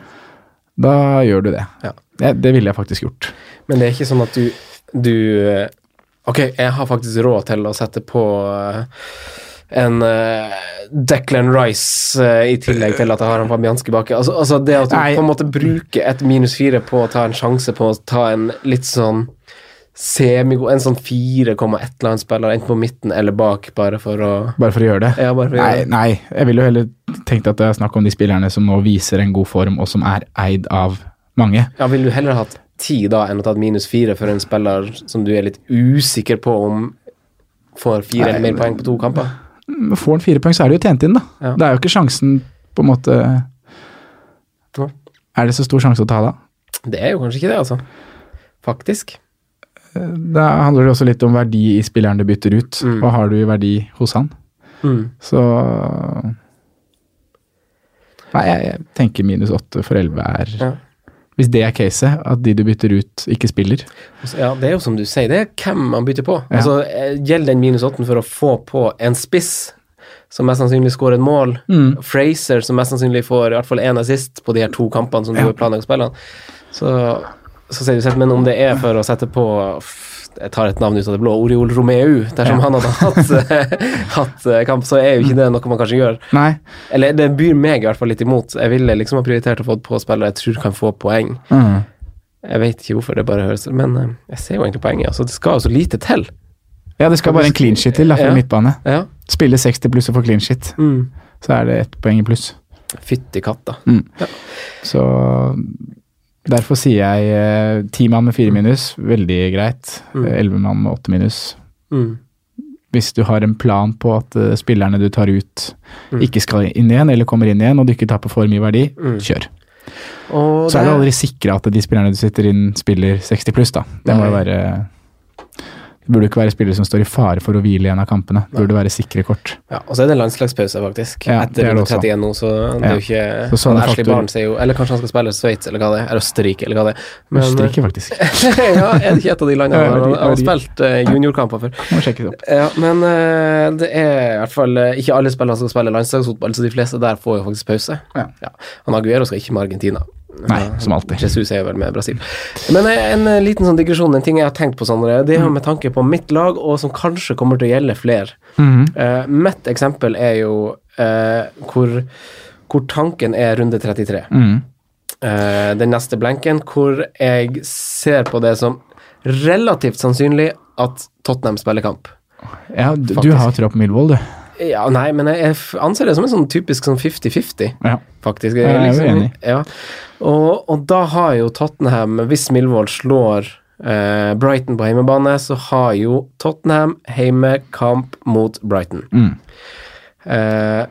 S4: Da gjør du det.
S3: Ja.
S4: Det, det ville jeg faktisk gjort.
S3: Men det er ikke sånn at du, du eh, Ok, jeg har faktisk råd til å sette på eh, en eh, Declan Rice eh, i tillegg til at jeg har en Fabianski baki. Altså, altså det at du
S4: Nei.
S3: på en måte bruker et minus fire på å ta en sjanse på å ta en litt sånn semigod En sånn fire komma et eller annet spiller, enten på midten eller bak, bare for å
S4: Bare for å gjøre det.
S3: Ja, bare for å
S4: Nei,
S3: gjøre det.
S4: nei, jeg ville jo heller tenkt at det er snakk om de spillerne som nå viser en god form, og som er eid av mange.
S3: Ja, Ville du heller hatt ti da enn å ta et minus fire for en spiller som du er litt usikker på om får fire eller mer poeng på to kamper?
S4: Men Får han fire poeng, så er det jo tjent inn, da.
S3: Ja.
S4: Det er jo ikke sjansen på en måte
S3: Nei.
S4: Er det så stor sjanse å ta da?
S3: Det er jo kanskje ikke det, altså. Faktisk.
S4: Da handler det også litt om verdi i spilleren du bytter ut.
S3: Mm.
S4: Hva har du i verdi hos han? Så Nei, jeg, jeg tenker minus åtte for elleve er
S3: Ja.
S4: Hvis det er caset, at de du bytter ut, ikke spiller
S3: Altså, Ja, det er jo som du sier, det er hvem man bytter på.
S4: Ja.
S3: Altså, eh, Gjelder den minus åtten for å få på en spiss som mest sannsynlig skårer et mål? Fraser som mest sannsynlig får i hvert fall én assist på de her to kampene som du har planlagt å spille? Så, så sier du selv, men om det er for å sette på f- jeg tar et navn ut av det blå, Oriol Romeu, dersom han hadde hatt, hatt eh, kamp, så er jo ikke det noe man kanskje gjør.
S4: Nei.
S3: Eller det byr meg i hvert fall litt imot. Jeg ville liksom ha prioritert å få på spillere jeg tror kan få poeng.
S4: Mm.
S3: Jeg vet ikke hvorfor det bare høres Men eh, jeg ser jo egentlig poenget. Altså, det skal jo så lite til.
S4: Ja, det skal bare en clean shit til da, for
S3: Ja.
S4: midtbane.
S3: Ja.
S4: Spille 60 pluss og få clean shit,
S3: Mm.
S4: så er det ett poeng i pluss.
S3: Fytti katta.
S4: Så derfor sier jeg eh, ti mann med fire minus, veldig greit. Eh,
S3: Mm.
S4: Elleve mann med åtte minus.
S3: Mm.
S4: Hvis du har en plan på at eh, spillerne du tar ut,
S3: Mm.
S4: ikke skal inn igjen, eller kommer inn igjen, og du ikke taper for mye verdi,
S3: Mm.
S4: kjør.
S3: Og
S4: Så er du aldri sikra at de spillerne du sitter inn, spiller 60 pluss, da. Det må jo
S3: Nei.
S4: være Det burde ikke være spillere som står i fare for å hvile i en av kampene. Det burde være sikre kort.
S3: ja, Og så er det en landslagspause, faktisk.
S4: Ja,
S3: Etter
S4: det er det
S3: runde
S4: også.
S3: 31 nå, så det er jo ikke
S4: Så sånne
S3: han Ashley
S4: faktorer-
S3: Barnes er jo Eller kanskje han skal spille Sveits, eller hva det er. Eller Østerrike, eller hva det er. Men, eh,
S4: Østerrike, faktisk.
S3: ja, er det ikke et av de landene
S4: Ja, jeg
S3: han, han
S4: vet ikke,
S3: har
S4: jeg vet
S3: spilt eh, juniorkamper for?
S4: Må sjekke det opp.
S3: Ja, men eh, det er i hvert fall eh, ikke alle spillere som skal spille landslagsfotball, så de fleste der får jo faktisk pause.
S4: Ja.
S3: Han Aguero skal ikke med Argentina.
S4: Nei,
S3: Ja,
S4: som alltid.
S3: Jesus er jo vel med Brasil. Men eh, en eh, liten sånn digresjon, en ting jeg har tenkt på, Sondre, det er
S4: Mm.
S3: jo med tanke på mitt lag, og som kanskje kommer til å gjelde flere.
S4: Mm-hmm.
S3: Eh, mitt eksempel er jo eh, hvor, hvor tanken er runde 33.
S4: Mhm.
S3: Eh, den neste blenken, hvor jeg ser på det som relativt sannsynlig at Tottenham spiller kamp.
S4: Ja, du, du
S3: Faktisk.
S4: har trua på Millwall, du.
S3: Ja, nei, men jeg jeg f- anser det som en sånn typisk sånn 50-50,
S4: Ja.
S3: faktisk. Liksom,
S4: Ja, jeg er jo enig.
S3: Ja. Og, og da har jo Tottenham, hvis Milvold slår eh, Brighton på hjemmebane, så har jo Tottenham heimekamp mot Brighton.
S4: Mm.
S3: Eh,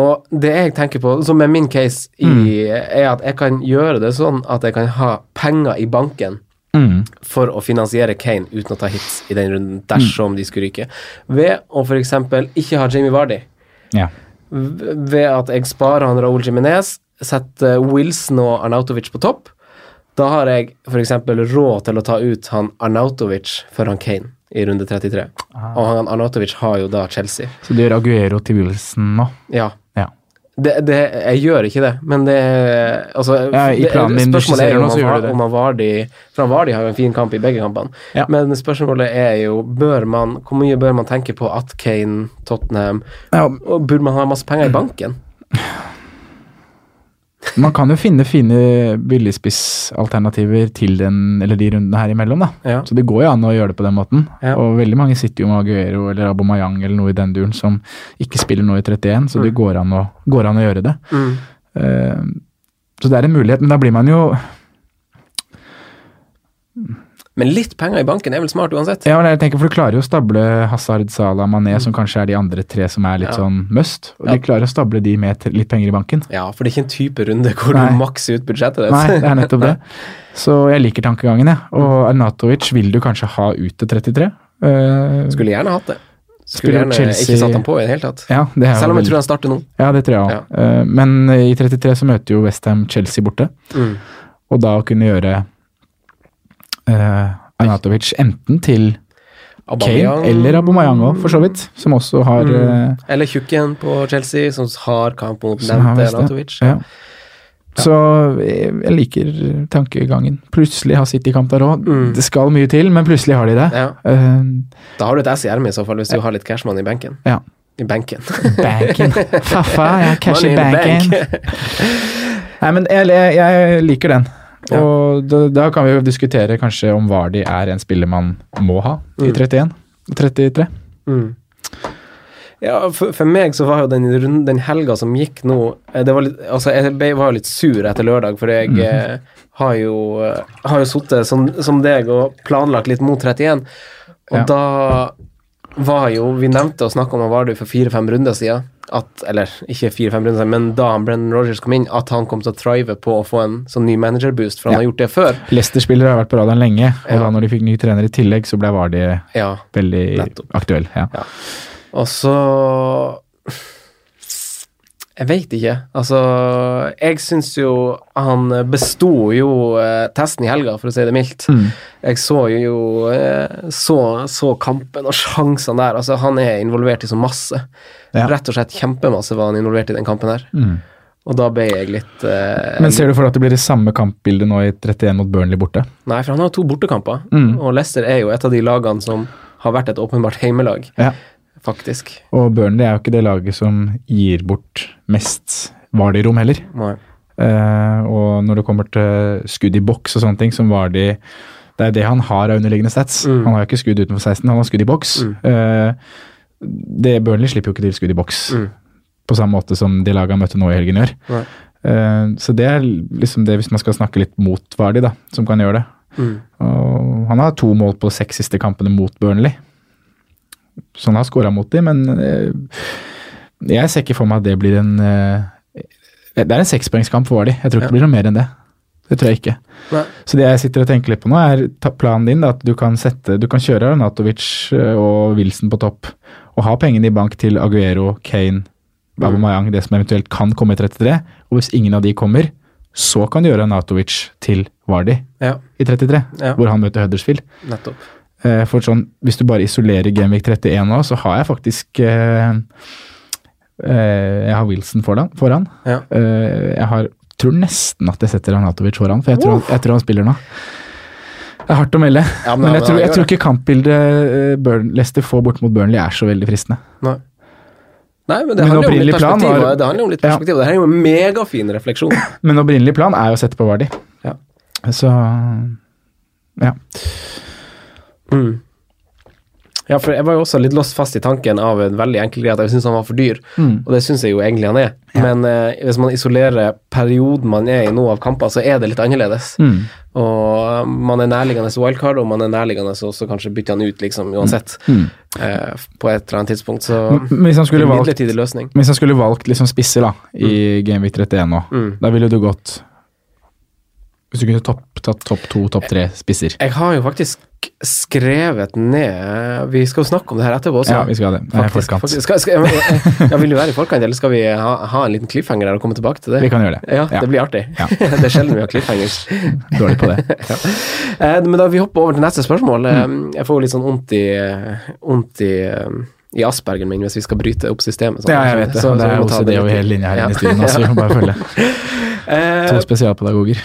S3: og det jeg tenker på, som er
S4: Mm.
S3: min case, i, er at jeg kan gjøre det sånn at jeg kan ha penger i banken
S4: Mm.
S3: for å finansiere Kane uten å ta hits i den runden, dersom de skulle ryke. Ved å f.eks. ikke ha Jamie Vardy.
S4: Ja.
S3: V- Ved at jeg sparer han Raúl Jiminez, setter Wilson og Arnautovic på topp. Da har jeg f.eks. råd til å ta ut han Arnautovic for han Kane i runde 33. Og han Arnautovic har jo da Chelsea.
S4: Så du gjør Aguero til Wilson nå?
S3: Ja.
S4: Ja.
S3: Det, det, jeg gjør ikke det, men det altså,
S4: Ja, i
S3: det-
S4: planen din du
S3: Spørsmålet er
S4: skisserer
S3: jo
S4: nå,
S3: om han,
S4: så gjør
S3: var,
S4: du det.
S3: om han Vardy For han Vardy har jo en fin kamp i begge kampene.
S4: Ja.
S3: Men spørsmålet er jo bør man, hvor mye bør man tenke på at Kane, Tottenham
S4: Ja,
S3: og Burde man ha masse penger i banken?
S4: man kan jo finne fine billigspissalternativer til den, eller de rundene her imellom, da.
S3: Ja.
S4: Så det går jo an å gjøre det på den måten.
S3: Ja.
S4: Og veldig mange sitter jo med Aguero eller Abomayang eller noe i den duren som ikke spiller nå i 31, så det går an å, går an å gjøre det.
S3: Mm.
S4: Eh, så det er en mulighet, men da blir man jo
S3: Men litt penger i banken er vel smart uansett?
S4: Ja, men jeg tenker, for du klarer jo å stable Hazard, Salah, Mané, som kanskje er de andre tre som er litt
S3: Mm. Ja.
S4: sånn must. Og
S3: Ja.
S4: de klarer å stable de med t- litt penger i banken.
S3: Ja, for det er ikke en type runde hvor
S4: Nei.
S3: du makser ut budsjettet ditt.
S4: Nei, det er nettopp det. Så jeg liker tankegangen, jeg. Og Arnatovic vil du kanskje ha ut til 33. Eh,
S3: Skulle gjerne hatt det.
S4: Skulle
S3: Skulle gjerne
S4: Chelsea-
S3: ikke satt han på i det hele tatt.
S4: ja, det er jo
S3: Selv om
S4: veldig-
S3: jeg tror han starter nå.
S4: Ja, det tror jeg òg. men eh, i 33 så møter jo Westham Chelsea borte.
S3: Mm.
S4: Og da å kunne gjøre eh, Arnatovic enten til Kane
S3: Aubameyang- Mm.
S4: eller Abomayang òg, for så vidt. Som også har eh,
S3: Eller tjukken på Chelsea, som har kamp mot
S4: Som har
S3: nevnte
S4: West, ja.
S3: Arnautovic.
S4: ja. Så jeg jeg liker tankegangen. Plutselig har City kamp der òg.
S3: Mm.
S4: Det skal mye til, men plutselig har de det.
S3: Ja.
S4: Eh,
S3: Da har du et S i ermet i så fall, hvis du har litt cashman i benken.
S4: Ja.
S3: I benken.
S4: banken. Faffa, jeg har cash i
S3: Money in the
S4: banken.
S3: bank.
S4: Nei, men jeg, jeg, jeg liker den.
S3: Ja.
S4: Og da, da kan vi jo diskutere kanskje om Vardi er en spiller man må ha i
S3: Mm.
S4: 31 og 33.
S3: mm. Ja, for, for meg så var jo den, runden- den helga som gikk nå eh, det var litt, altså Jeg ble, var jo litt sur etter lørdag, for jeg
S4: Mm.
S3: eh, har jo, eh, har jo sittet som, som deg og planlagt litt mot 31, og
S4: Ja.
S3: da var jo Vi nevnte og snakka om han Vardu for fire-fem runder siden, at, eller ikke fire-fem runder siden, men da han Brennan Rogers kom inn, at han kom til å thrive på å få en sånn ny managerboost, for han
S4: Ja.
S3: har gjort det før.
S4: Leicester-spillere har vært på radaren lenge, og
S3: Ja.
S4: da når de fikk ny trener i tillegg, så ble Vardi
S3: Ja.
S4: veldig
S3: Nettopp.
S4: aktuell. Ja.
S3: Og så Jeg veit ikke. Altså, jeg syns jo han besto jo eh, testen i helga, for å si det mildt.
S4: Mm.
S3: Jeg så jo eh, så, så kampen og sjansene der. Altså, han er involvert i så masse.
S4: Ja.
S3: Rett og slett kjempemasse var han involvert i den kampen her.
S4: Mm.
S3: Og da ble jeg litt eh,
S4: Men ser du for deg at det blir det samme kampbildet nå i 31 mot Burnley borte?
S3: Nei, for han har jo to bortekamper,
S4: Mm.
S3: og Leicester er jo et av de lagene som har vært et åpenbart heimelag,
S4: Ja.
S3: faktisk.
S4: Og Burnley er jo ikke det laget som gir bort mest Vardi-rom heller.
S3: Nei.
S4: Eh, og når det kommer til skudd i boks og sånne ting, som var de Det er det han har av underliggende stats.
S3: Mm.
S4: Han har jo ikke skudd utenfor 16, han har skudd i boks.
S3: Mm.
S4: Eh, det Burnley slipper jo ikke til skudd i boks
S3: Mm.
S4: på samme måte som de laga møtte nå i helgen gjør.
S3: Nei.
S4: Eh, så det er liksom det, hvis man skal snakke litt mot Vardi, da, som kan gjøre det.
S3: Mm.
S4: Og han har to mål på de seks siste kampene mot Burnley. Så han har skåra mot dem, men eh, jeg ser ikke for meg at det blir en eh, Det er en sekspoengskamp for Vardø. Jeg tror ikke det blir noe mer enn det. Det tror jeg ikke.
S3: Nei.
S4: Så det jeg sitter og tenker litt på nå, er ta- planen din da, at du kan, sette, du kan kjøre Arnatovic og Wilson på topp, og ha pengene i bank til Aguero, Kane, Babamayang, det som eventuelt kan komme i 33. Og hvis ingen av de kommer, så kan du gjøre Arnatovic til Vardi
S3: Ja,
S4: i 33,
S3: Ja.
S4: hvor han møter Huddersfield.
S3: nettopp.
S4: Eh, for sånn, hvis du bare isolerer Genvik 31 nå, så har jeg faktisk eh, eh, Jeg har Wilson foran. foran.
S3: Ja.
S4: Eh, jeg har, tror nesten at jeg setter Arnatovic foran, for jeg tror, han- jeg tror han spiller nå. Det er hardt å melde,
S3: Ja,
S4: men
S3: ja,
S4: jeg tror,
S3: han
S4: jeg
S3: gjør
S4: tror
S3: det.
S4: ikke kampbildet eh, Burn- Leicester får bort mot Burnley er så veldig fristende.
S3: Nei. Nei, men det
S4: Min
S3: handler jo om litt
S4: opprinnelige plan
S3: perspektiv.
S4: var-
S3: og Det handler jo om litt
S4: Ja.
S3: perspektiv. Det her er jo en megafin refleksjon.
S4: Men opprinnelig plan er jo å sette på Vardi.
S3: Ja.
S4: Så ja.
S3: Mm. Ja, for jeg var jo også litt låst fast i tanken av en veldig enkel greie, at jeg syns han var for dyr.
S4: Mm.
S3: Og det syns jeg jo egentlig han er. Men eh, hvis man isolerer perioden man er i nå av kamper, så er det litt annerledes.
S4: Mm.
S3: Og eh, man er nærliggende wildcard, og man er nærliggende så også kanskje bytte han ut, liksom, uansett.
S4: Mm.
S3: eh, på et eller annet tidspunkt. Så
S4: Men Hvis han skulle
S3: en
S4: valgt
S3: midlertidig løsning.
S4: Hvis han skulle valgt liksom spisser da, i Gameweek 31 nå,
S3: Mm.
S4: da ville du gått Hvis du kunne topp- tatt topp to, topp tre spisser.
S3: Jeg har jo faktisk skrevet ned Vi skal jo snakke om det her etterpå også.
S4: Ja, vi skal ha det. Det er
S3: Altså- Faktisk,
S4: forkant.
S3: faktisk. Skal, skal, ja, vil du være i forkant, eller skal vi ha, ha en liten cliffhanger der og komme tilbake til det?
S4: Vi kan gjøre det.
S3: Ja,
S4: Ja.
S3: det blir artig.
S4: Ja.
S3: det er sjelden vi har cliffhangers.
S4: Dårlig på det.
S3: Eh, men da vi hopper over til neste
S4: Mm.
S3: spørsmål eh, Jeg får jo litt sånn vondt i Vondt i eh, i aspergen min, hvis vi skal bryte opp systemet. sånn.
S4: Ja, jeg vet det.
S3: Så- så
S4: det
S3: vi
S4: er
S3: må ta
S4: OCD
S3: litt-
S4: over hele linja her
S3: Ja. Eh,
S4: inne i studio nå, så vi må bare følge. To spesialpedagoger.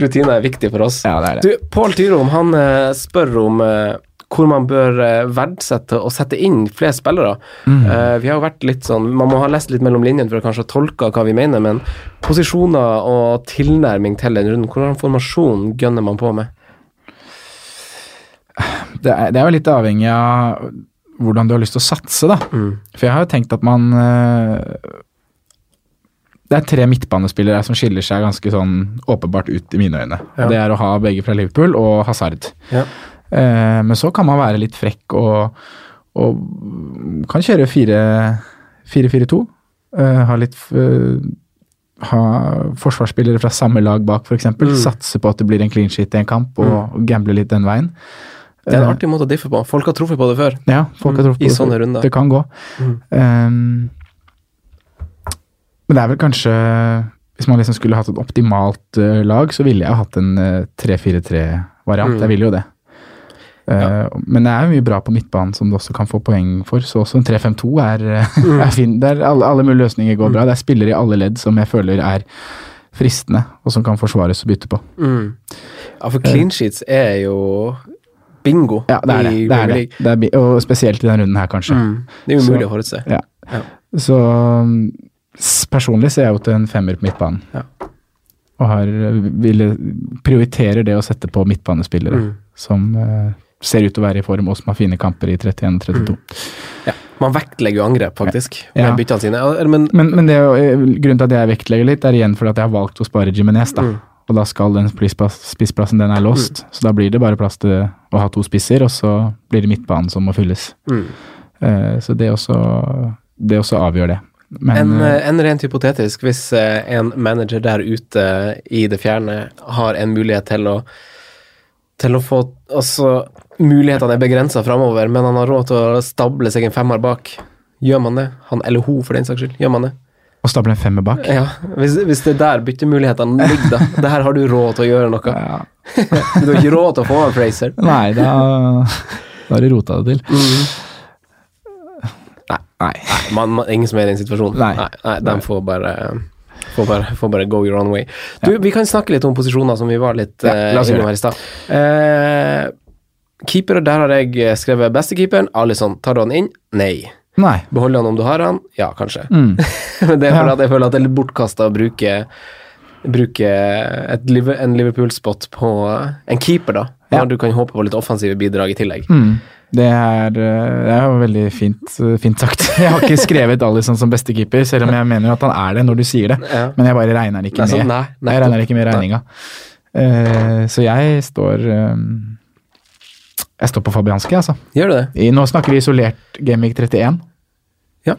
S3: Rutiner er viktig for oss.
S4: Ja, det er det.
S3: Du, Pål Tyrom han eh, spør om eh, hvor man bør eh, verdsette og sette inn flere spillere. Eh, vi har jo vært litt sånn Man må ha lest litt mellom linjene for å kanskje tolke hva vi mener, men posisjoner og tilnærming til den runden, hvordan formasjon gønner man på med?
S4: det, er, det er jo litt avhengig av hvordan du har lyst til å satse, da.
S3: Mm.
S4: For jeg har jo tenkt at man eh, Det er tre midtbanespillere som skiller seg ganske sånn åpenbart ut i mine øyne.
S3: Ja.
S4: Og det er å ha begge fra Liverpool og Hazard.
S3: Ja.
S4: Eh, men så kan man være litt frekk og, og kan kjøre fire- 4-4-2. eh, ha litt eh, ha forsvarsspillere fra samme lag bak, f.eks. eksempel
S3: Mm.
S4: Satse på at det blir en clean sheet i en kamp, og, og gamble litt den veien.
S3: Det er en
S4: Eh,
S3: artig måte å diffe på. Folk har truffet på det før.
S4: ja, folk har
S3: Mm,
S4: truffet på
S3: i
S4: det
S3: sånne
S4: før.
S3: runder.
S4: Det kan gå.
S3: Mm.
S4: Ehm, men det er vel kanskje Hvis man liksom skulle hatt et optimalt eh, lag, så ville jeg hatt en eh, 3-4-3-variant.
S3: Mm.
S4: Jeg ville jo det. Eh, Men det er jo mye bra på midtbanen som du også kan få poeng for, så også en 3-5-2 er, eh,
S3: Mm.
S4: er fin. Der alle, alle mulige løsninger går bra. Det er spillere i alle ledd som jeg føler er fristende, og som kan forsvares og bytte på.
S3: Mm. Eh. Ja, for clean sheets er jo bingo
S4: Ja, det er det.
S3: i
S4: det, er
S3: Premier
S4: det.
S3: League.
S4: det er, bi- og spesielt i denne runden her, kanskje.
S3: Mm. Det er jo
S4: Så-
S3: umulig å forutse.
S4: Ja.
S3: Ja.
S4: Så mm, s- personlig ser jeg jo til en femmer på midtbanen.
S3: Ja.
S4: Og har, ville, prioriterer det å sette på midtbanespillere
S3: Mm.
S4: som eh, ser ut til å være i form, og som har fine kamper i 31-32.
S3: Mm. Man vektlegger jo angrep, faktisk,
S4: Ja.
S3: med byttene sine. Ja, Men
S4: Men, men det, er jo- eh, grunnen til at jeg vektlegger litt, er igjen fordi at jeg har valgt å spare Jimenez. Da.
S3: Mm.
S4: Og da skal den spissplass- spissplassen den er låst, så da blir det bare plass til å ha to spisser, og så blir det midtbanen som må fylles.
S3: mm.
S4: Eh, så det også, det også avgjør det. Men,
S3: En,
S4: eh,
S3: eh, en rent hypotetisk, hvis eh, en manager der ute i det fjerne har en mulighet til å til å få Altså, mulighetene er begrensa framover, men han har råd til å stable seg en femmer bak. Gjør man det? Han eller hun, for den saks skyld. Gjør man det?
S4: å stable en femmer bak
S3: Ja, Hvis, hvis det er der byttemulighetene ligger, da. Det her har du råd til å gjøre noe.
S4: ja.
S3: Du har ikke råd til å få en Fraser. Mm.
S4: Nei, da, da har du rota det til. Nei. Nei.
S3: Man, man, ingen som er i den situasjonen.
S4: Nei.
S3: nei, De får bare, får, bare, får bare go your own way. Du, Vi kan snakke litt om posisjoner, som vi var litt
S4: Ja,
S3: eh,
S4: la oss gjøre
S3: innom her i stad. Eh, keepere, der har jeg eh, skrevet bestekeeperen. Alison, tar du han inn? Nei.
S4: Nei.
S3: Beholder han om du har han? Ja, kanskje.
S4: Mm.
S3: Men det er fordi
S4: Ja.
S3: at jeg føler at det er litt bortkasta å bruke, bruke et, Liver- en Liverpool-spot på eh, en keeper, da.
S4: Ja.
S3: Når du kan håpe på litt offensive bidrag i tillegg.
S4: Mm. Det er, eh, det er jo veldig fint, eh, fint sagt. Jeg har ikke skrevet Alison som bestekeeper, selv om jeg mener jo at han er det når du sier det.
S3: Ja.
S4: Men jeg bare regner det
S3: Nei,
S4: ikke
S3: så
S4: med.
S3: nei, nei,
S4: Jeg regner det ikke med i
S3: Nei.
S4: regninga. Eh, Så jeg står eh, Jeg står på Fabianski, altså.
S3: Gjør du det?
S4: I, nå snakker vi isolert Gamevik 31.
S3: Ja.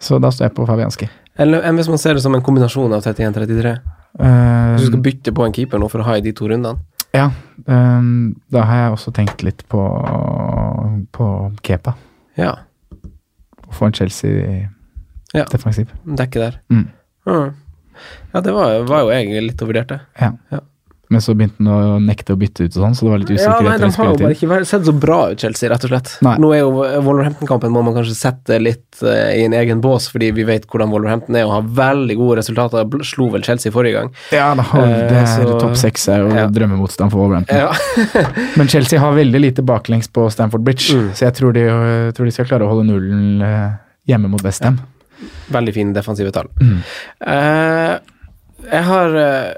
S4: Så da står jeg på Fabianski.
S3: Eller enn hvis man ser det som en kombinasjon av 31-33?
S4: Eh,
S3: Hvis du skal bytte på en keeper nå for å ha i de to rundene?
S4: Ja, ehm, da har jeg også tenkt litt på, på Kepa.
S3: Ja.
S4: Å få en Chelsea-defensiv.
S3: Ja. Dekke der.
S4: Mm.
S3: Mm. Ja, det var, var jo jeg litt og vurderte.
S4: Ja.
S3: Ja.
S4: Men så begynte han å nekte å bytte ut og sånn, så det var litt
S3: Ja, nei,
S4: usikkerhet
S3: de
S4: rundt
S3: har jo bare
S4: spilletid.
S3: ikke vært- sett så bra ut, Chelsea, rett og slett.
S4: Nei.
S3: Nå er jo eh, Wolverhampton-kampen må man kanskje sette litt eh, i en egen bås, fordi vi vet hvordan Wolverhampton er og har veldig gode resultater. Bl- Slo vel Chelsea forrige gang.
S4: Ja, da, og
S3: Eh,
S4: det er
S3: så-
S4: topp seks er jo
S3: Ja.
S4: drømmemotstand for Wolverhampton.
S3: Ja.
S4: Men Chelsea har veldig lite baklengs på Stamford Bridge,
S3: Mm.
S4: så jeg tror de, jeg tror de skal klare å holde nullen eh, hjemme mot Westham.
S3: Veldig fine defensive tall.
S4: Mm.
S3: Eh, jeg har eh,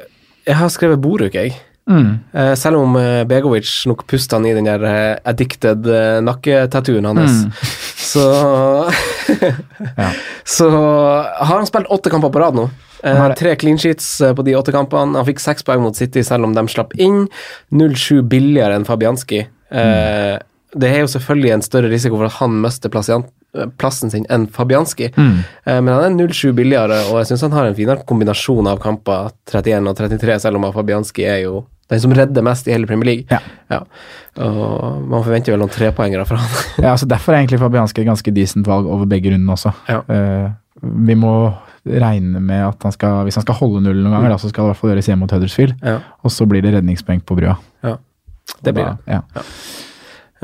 S3: Jeg har skrevet Boruk, jeg.
S4: Mm.
S3: Eh, selv om eh, Begovic nok puster han i den der eh, addicted eh, nakketattooen hans,
S4: Mm.
S3: så
S4: Ja.
S3: Så har han spilt åtte kamper på rad nå. Eh,
S4: Han har det.
S3: tre clean sheets eh, på de åtte kampene. Han fikk seks poeng mot City selv om de slapp inn. 0-7 billigere enn Fabianski. Eh, Det er jo selvfølgelig en større risiko for at han mister plassian- eh, plassen sin enn Fabianski.
S4: Mm.
S3: Eh, Men han er 07 billigere, og jeg syns han har en finere kombinasjon av kamper, 31 og 33, selv om Fabianski er jo den som redder mest i hele Premier League.
S4: Ja.
S3: Og man forventer vel noen trepoengere fra han.
S4: Ja, altså Derfor er egentlig Fabianski et ganske decent valg over begge rundene også.
S3: Ja.
S4: Eh, vi må regne med at han skal, hvis han skal holde nullen noen ganger, da, så skal det i hvert fall gjøres hjemme mot Huddersfield.
S3: Ja.
S4: Og så blir det redningsbenk på brua.
S3: Ja. Det blir det.
S4: Ja.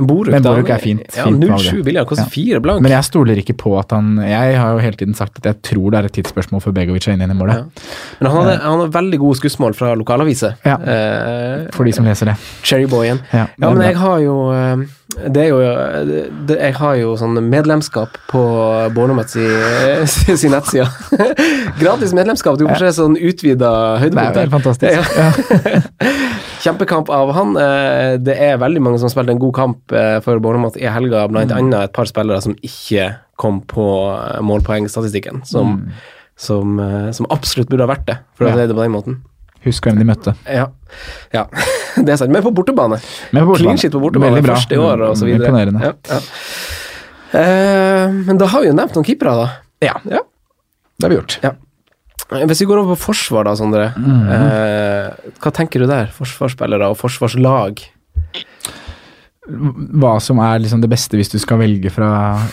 S3: En Boruk,
S4: Men
S3: da,
S4: Boruk
S3: han
S4: er fint,
S3: Ja, 07
S4: fint valg.
S3: billigere, koster
S4: Ja.
S3: fire blank.
S4: Men jeg stoler ikke på at han Jeg har jo hele tiden sagt at jeg tror det er et tidsspørsmål før Begovic er inne i målet.
S3: Men han hadde, han hadde veldig gode skussmål fra lokalaviser.
S4: Ja.
S3: Eh,
S4: For de som leser det.
S3: Cherryboyen.
S4: Ja,
S3: Ja,
S4: det er
S3: men
S4: bra.
S3: jeg har jo eh, Det er jo eh, det, Jeg har jo sånn medlemskap på Bornermets i, sin nettside. Gratis medlemskap. Du får se sånn utvida
S4: det er jo
S3: høydepunkter.
S4: helt fantastisk.
S3: Ja. Kjempekamp av han. Eh, Det er veldig mange som har spilt en god kamp eh, for Bornermat i helga,
S4: Mm.
S3: blant annet et par spillere som ikke kom på eh, målpoengstatistikken, som, som, eh, som absolutt burde ha vært det, for å
S4: Mm. Ja.
S3: si det på den måten.
S4: Husk hvem de møtte.
S3: Ja. ja, det er sant. Men på bortebane.
S4: Men på bortebane.
S3: Clean shit på bortebane
S4: Veldig bra. Mm,
S3: første år og så videre.
S4: Imponerende.
S3: Ja, ja. Eh, men da har vi jo nevnt noen keepere, da. Ja. ja.
S4: Det har vi gjort.
S3: Hvis vi går over på forsvar, da, Sondre.
S4: Mm.
S3: eh, hva tenker du der? Forsvarsspillere og forsvarslag.
S4: Hva som er liksom det beste hvis du skal velge fra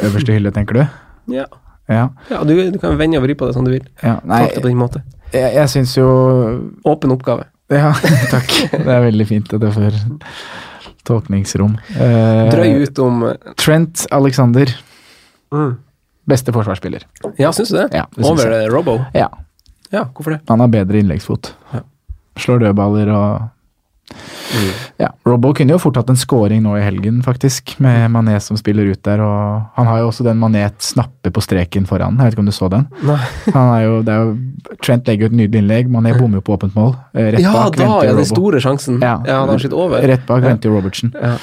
S4: øverste hylle, tenker du?
S3: Ja,
S4: Ja.
S3: ja du, du kan vende og vri på det som du vil.
S4: ja. Nei,
S3: Takk det på din måte.
S4: jeg, jeg syns jo
S3: Åpen oppgave.
S4: Ja, takk. Det er veldig fint at jeg får tolkningsrom. Eh,
S3: Drøy ut om mm.
S4: Trent Alexander. Beste forsvarsspiller.
S3: Ja, syns du det?
S4: Ja, det syns
S3: over
S4: jeg.
S3: eh, Robbo?
S4: Ja.
S3: Ja, hvorfor det?
S4: Han har bedre innleggsfot.
S3: Ja.
S4: Slår dødballer og Ja, Robbo kunne jo fort hatt en scoring nå i helgen, faktisk, med Mané som spiller ut der. og Han har jo også den Mané snapper på streken foran. Jeg vet ikke om du så den?
S3: Nei.
S4: Han er jo, det er jo, Trent legger jo et nydelig innlegg, Mané bommer jo på åpent mål. Eh, Rett
S3: Ja,
S4: bak
S3: da
S4: venter
S3: ja, den
S4: Robbo.
S3: store sjansen. Ja,
S4: Ja.
S3: han har skutt over.
S4: Rett bak venter jo Robertsen.
S3: Ja.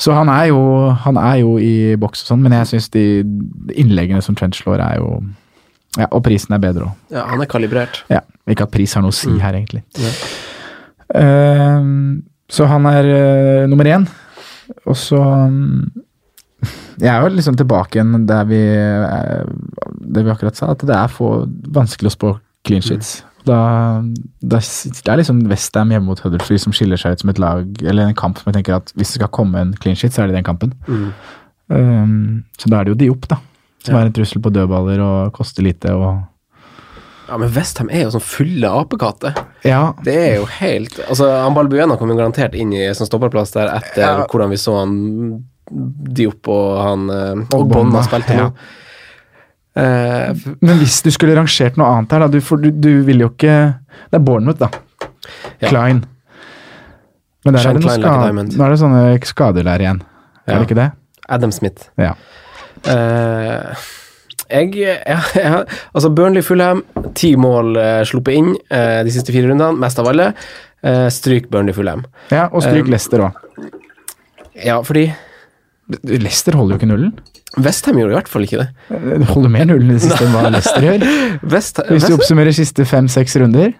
S4: Så han er, jo, han er jo i boks og sånn, men jeg syns de innleggene som Trent slår, er jo ja, Og prisen er bedre òg.
S3: Ja, han er kalibrert.
S4: Ja, ikke at pris har noe å si her, egentlig.
S3: Ja.
S4: Ehm, så han er eh, nummer én. Og så mm, Jeg er jo liksom tilbake igjen der vi eh, Det vi akkurat sa, at det er få, vanskelig å spå clean sheets. Da, da, s- det er liksom Westham hjemme mot Huddersfield som skiller seg ut som et lag, eller en kamp som jeg tenker at hvis det skal komme en clean sheet, så er det den kampen.
S3: Mm.
S4: Ehm, så da er det jo Diop, da. Som er en trussel på dødballer og koster lite og
S3: Ja, men Westham er jo sånn fulle apekatter.
S4: Ja,
S3: Det er jo helt Altså, han Balbuena kom jo garantert inn i sånn stopperplass der etter
S4: Ja.
S3: hvordan vi så han Diop og han eh,
S4: Og
S3: Og
S4: Bonna,
S3: Bonna spilte nå. Eh, f-
S4: Men hvis du skulle rangert noe annet her, da Du, for du, du vil jo ikke Det er Bournemouth, da.
S3: Ja.
S4: Klein. Men der
S3: Shine
S4: er det noe
S3: Klein like a
S4: ska-
S3: diamond.
S4: nå er det sånne skader der igjen.
S3: Ja.
S4: Er det ikke det?
S3: Adam Smith.
S4: Ja.
S3: Eh, jeg, jeg, jeg Altså, Burnley Fulham, ti mål eh, sluppet inn eh, de siste fire rundene, mest av alle. Eh, stryk Burnley Fulham.
S4: ja og
S3: Um,
S4: stryk Leicester òg.
S3: Ja, fordi
S4: Leicester holder jo ikke nullen.
S3: Westham gjorde i hvert fall ikke det.
S4: De holder mer nullen i det siste enn hva Leicester gjør.
S3: West,
S4: Hvis du
S3: West,
S4: oppsummerer siste fem-seks runder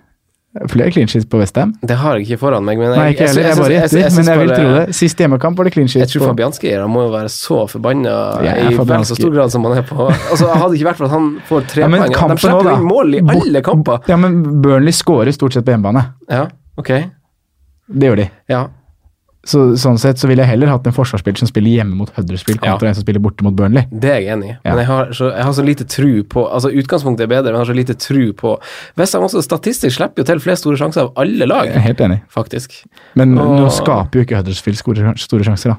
S4: Flere clean sheets på Westham.
S3: det har jeg ikke foran meg, men
S4: Nei, ikke
S3: sy-
S4: heller. Jeg bare
S3: syns-
S4: gjetter,
S3: syns
S4: men jeg vil
S3: bare-
S4: tro det. Sist hjemmekamp var det clean
S3: Jeg
S4: sheets
S3: tror
S4: på
S3: Fabianski må jo være så forbanna
S4: Jeg er
S3: i vel så
S4: Fabianski.
S3: stor grad som han er på Altså Hadde det ikke vært for at han får tre
S4: Ja, men
S3: poeng De
S4: kampen nå,
S3: slipper
S4: da.
S3: jo inn mål i
S4: Bort-
S3: alle kamper.
S4: Ja, men Burnley scorer stort sett på hjemmebane.
S3: Ja, ok.
S4: Det gjør de.
S3: Ja.
S4: Så, sånn sett så ville jeg heller hatt en forsvarsspiller som spiller hjemme mot Huddersfield, kontra en som spiller borte mot Burnley.
S3: Det er jeg enig i,
S4: Ja.
S3: men jeg har, så, jeg har så lite tru på Altså Utgangspunktet er bedre, men jeg har så lite tru på Westham også statistisk slipper jo til flere store sjanser av alle lag,
S4: Jeg er helt enig.
S3: faktisk.
S4: Men nå
S3: Og-
S4: skaper jo ikke Huddersfield store, store sjanser, da.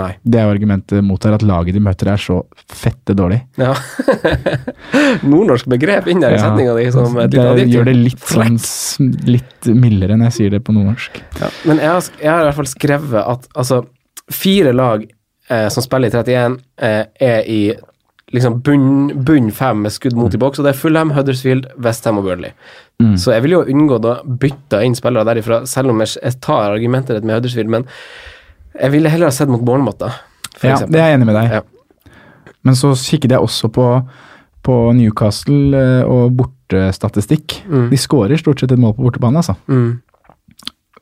S3: Nei.
S4: Det er jo argumentet mot her, at laget de møter er så fette dårlig.
S3: Ja. Nordnorsk begrep inn der i setninga di som et
S4: det
S3: lite adjektiv.
S4: gjør det litt, sånn, s- litt mildere når jeg sier det på nordnorsk.
S3: Ja, men jeg har, jeg har i hvert fall skrevet at altså, fire lag eh, som spiller i 31, eh, er i liksom bunn, bunn fem med skudd mot i boks, og det er Fulham, Huddersfield, Westham og Burnley. Så jeg vil jo unngå da bytte inn spillere derifra, selv om jeg, jeg tar argumentet ditt med Huddersfield, men jeg ville heller ha sett mot Bournemouth, da. For
S4: Ja, det
S3: eksempel.
S4: er jeg enig med deg.
S3: Ja.
S4: Men så kikket jeg også på, på Newcastle eh, og bortestatistikk. De skårer stort sett et mål på bortebane, altså.
S3: Mm.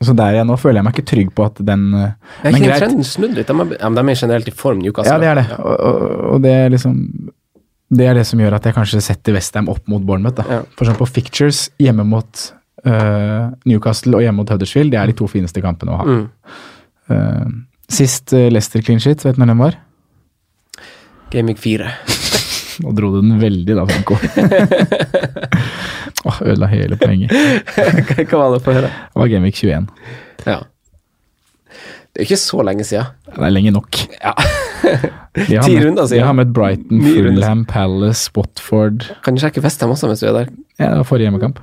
S4: Så der jeg nå føler jeg meg ikke trygg på at den eh,
S3: Jeg
S4: Men
S3: kjenner
S4: greit.
S3: trenden snudd litt. De er, ja, men de er generelt i form, Newcastle.
S4: Ja, det er det. Og, og, og det er liksom Det er det som gjør at jeg kanskje setter Westham opp mot Bournemouth. Da.
S3: Ja.
S4: For eksempel på Fictures hjemme mot eh, Newcastle og hjemme mot Huddersfield, det er de to fineste kampene å ha.
S3: Mm.
S4: Eh, sist eh, Leicester clean shit, vet du når den var?
S3: Gaming 4.
S4: Nå dro du den veldig da, Franco. Åh, ødela hele poenget.
S3: Hva var det for å høre?
S4: Det var Gamevik 21.
S3: Ja. Det er ikke så lenge siden.
S4: Det er lenge nok.
S3: Ja.
S4: De har
S3: Ti
S4: møtt-
S3: runder, sier
S4: De har
S3: jeg.
S4: møtt Brighton,
S3: Ni runder.
S4: Fulham, Palace, Watford
S3: Kan du sjekke Westham også mens du er der?
S4: ja, Det var forrige hjemmekamp.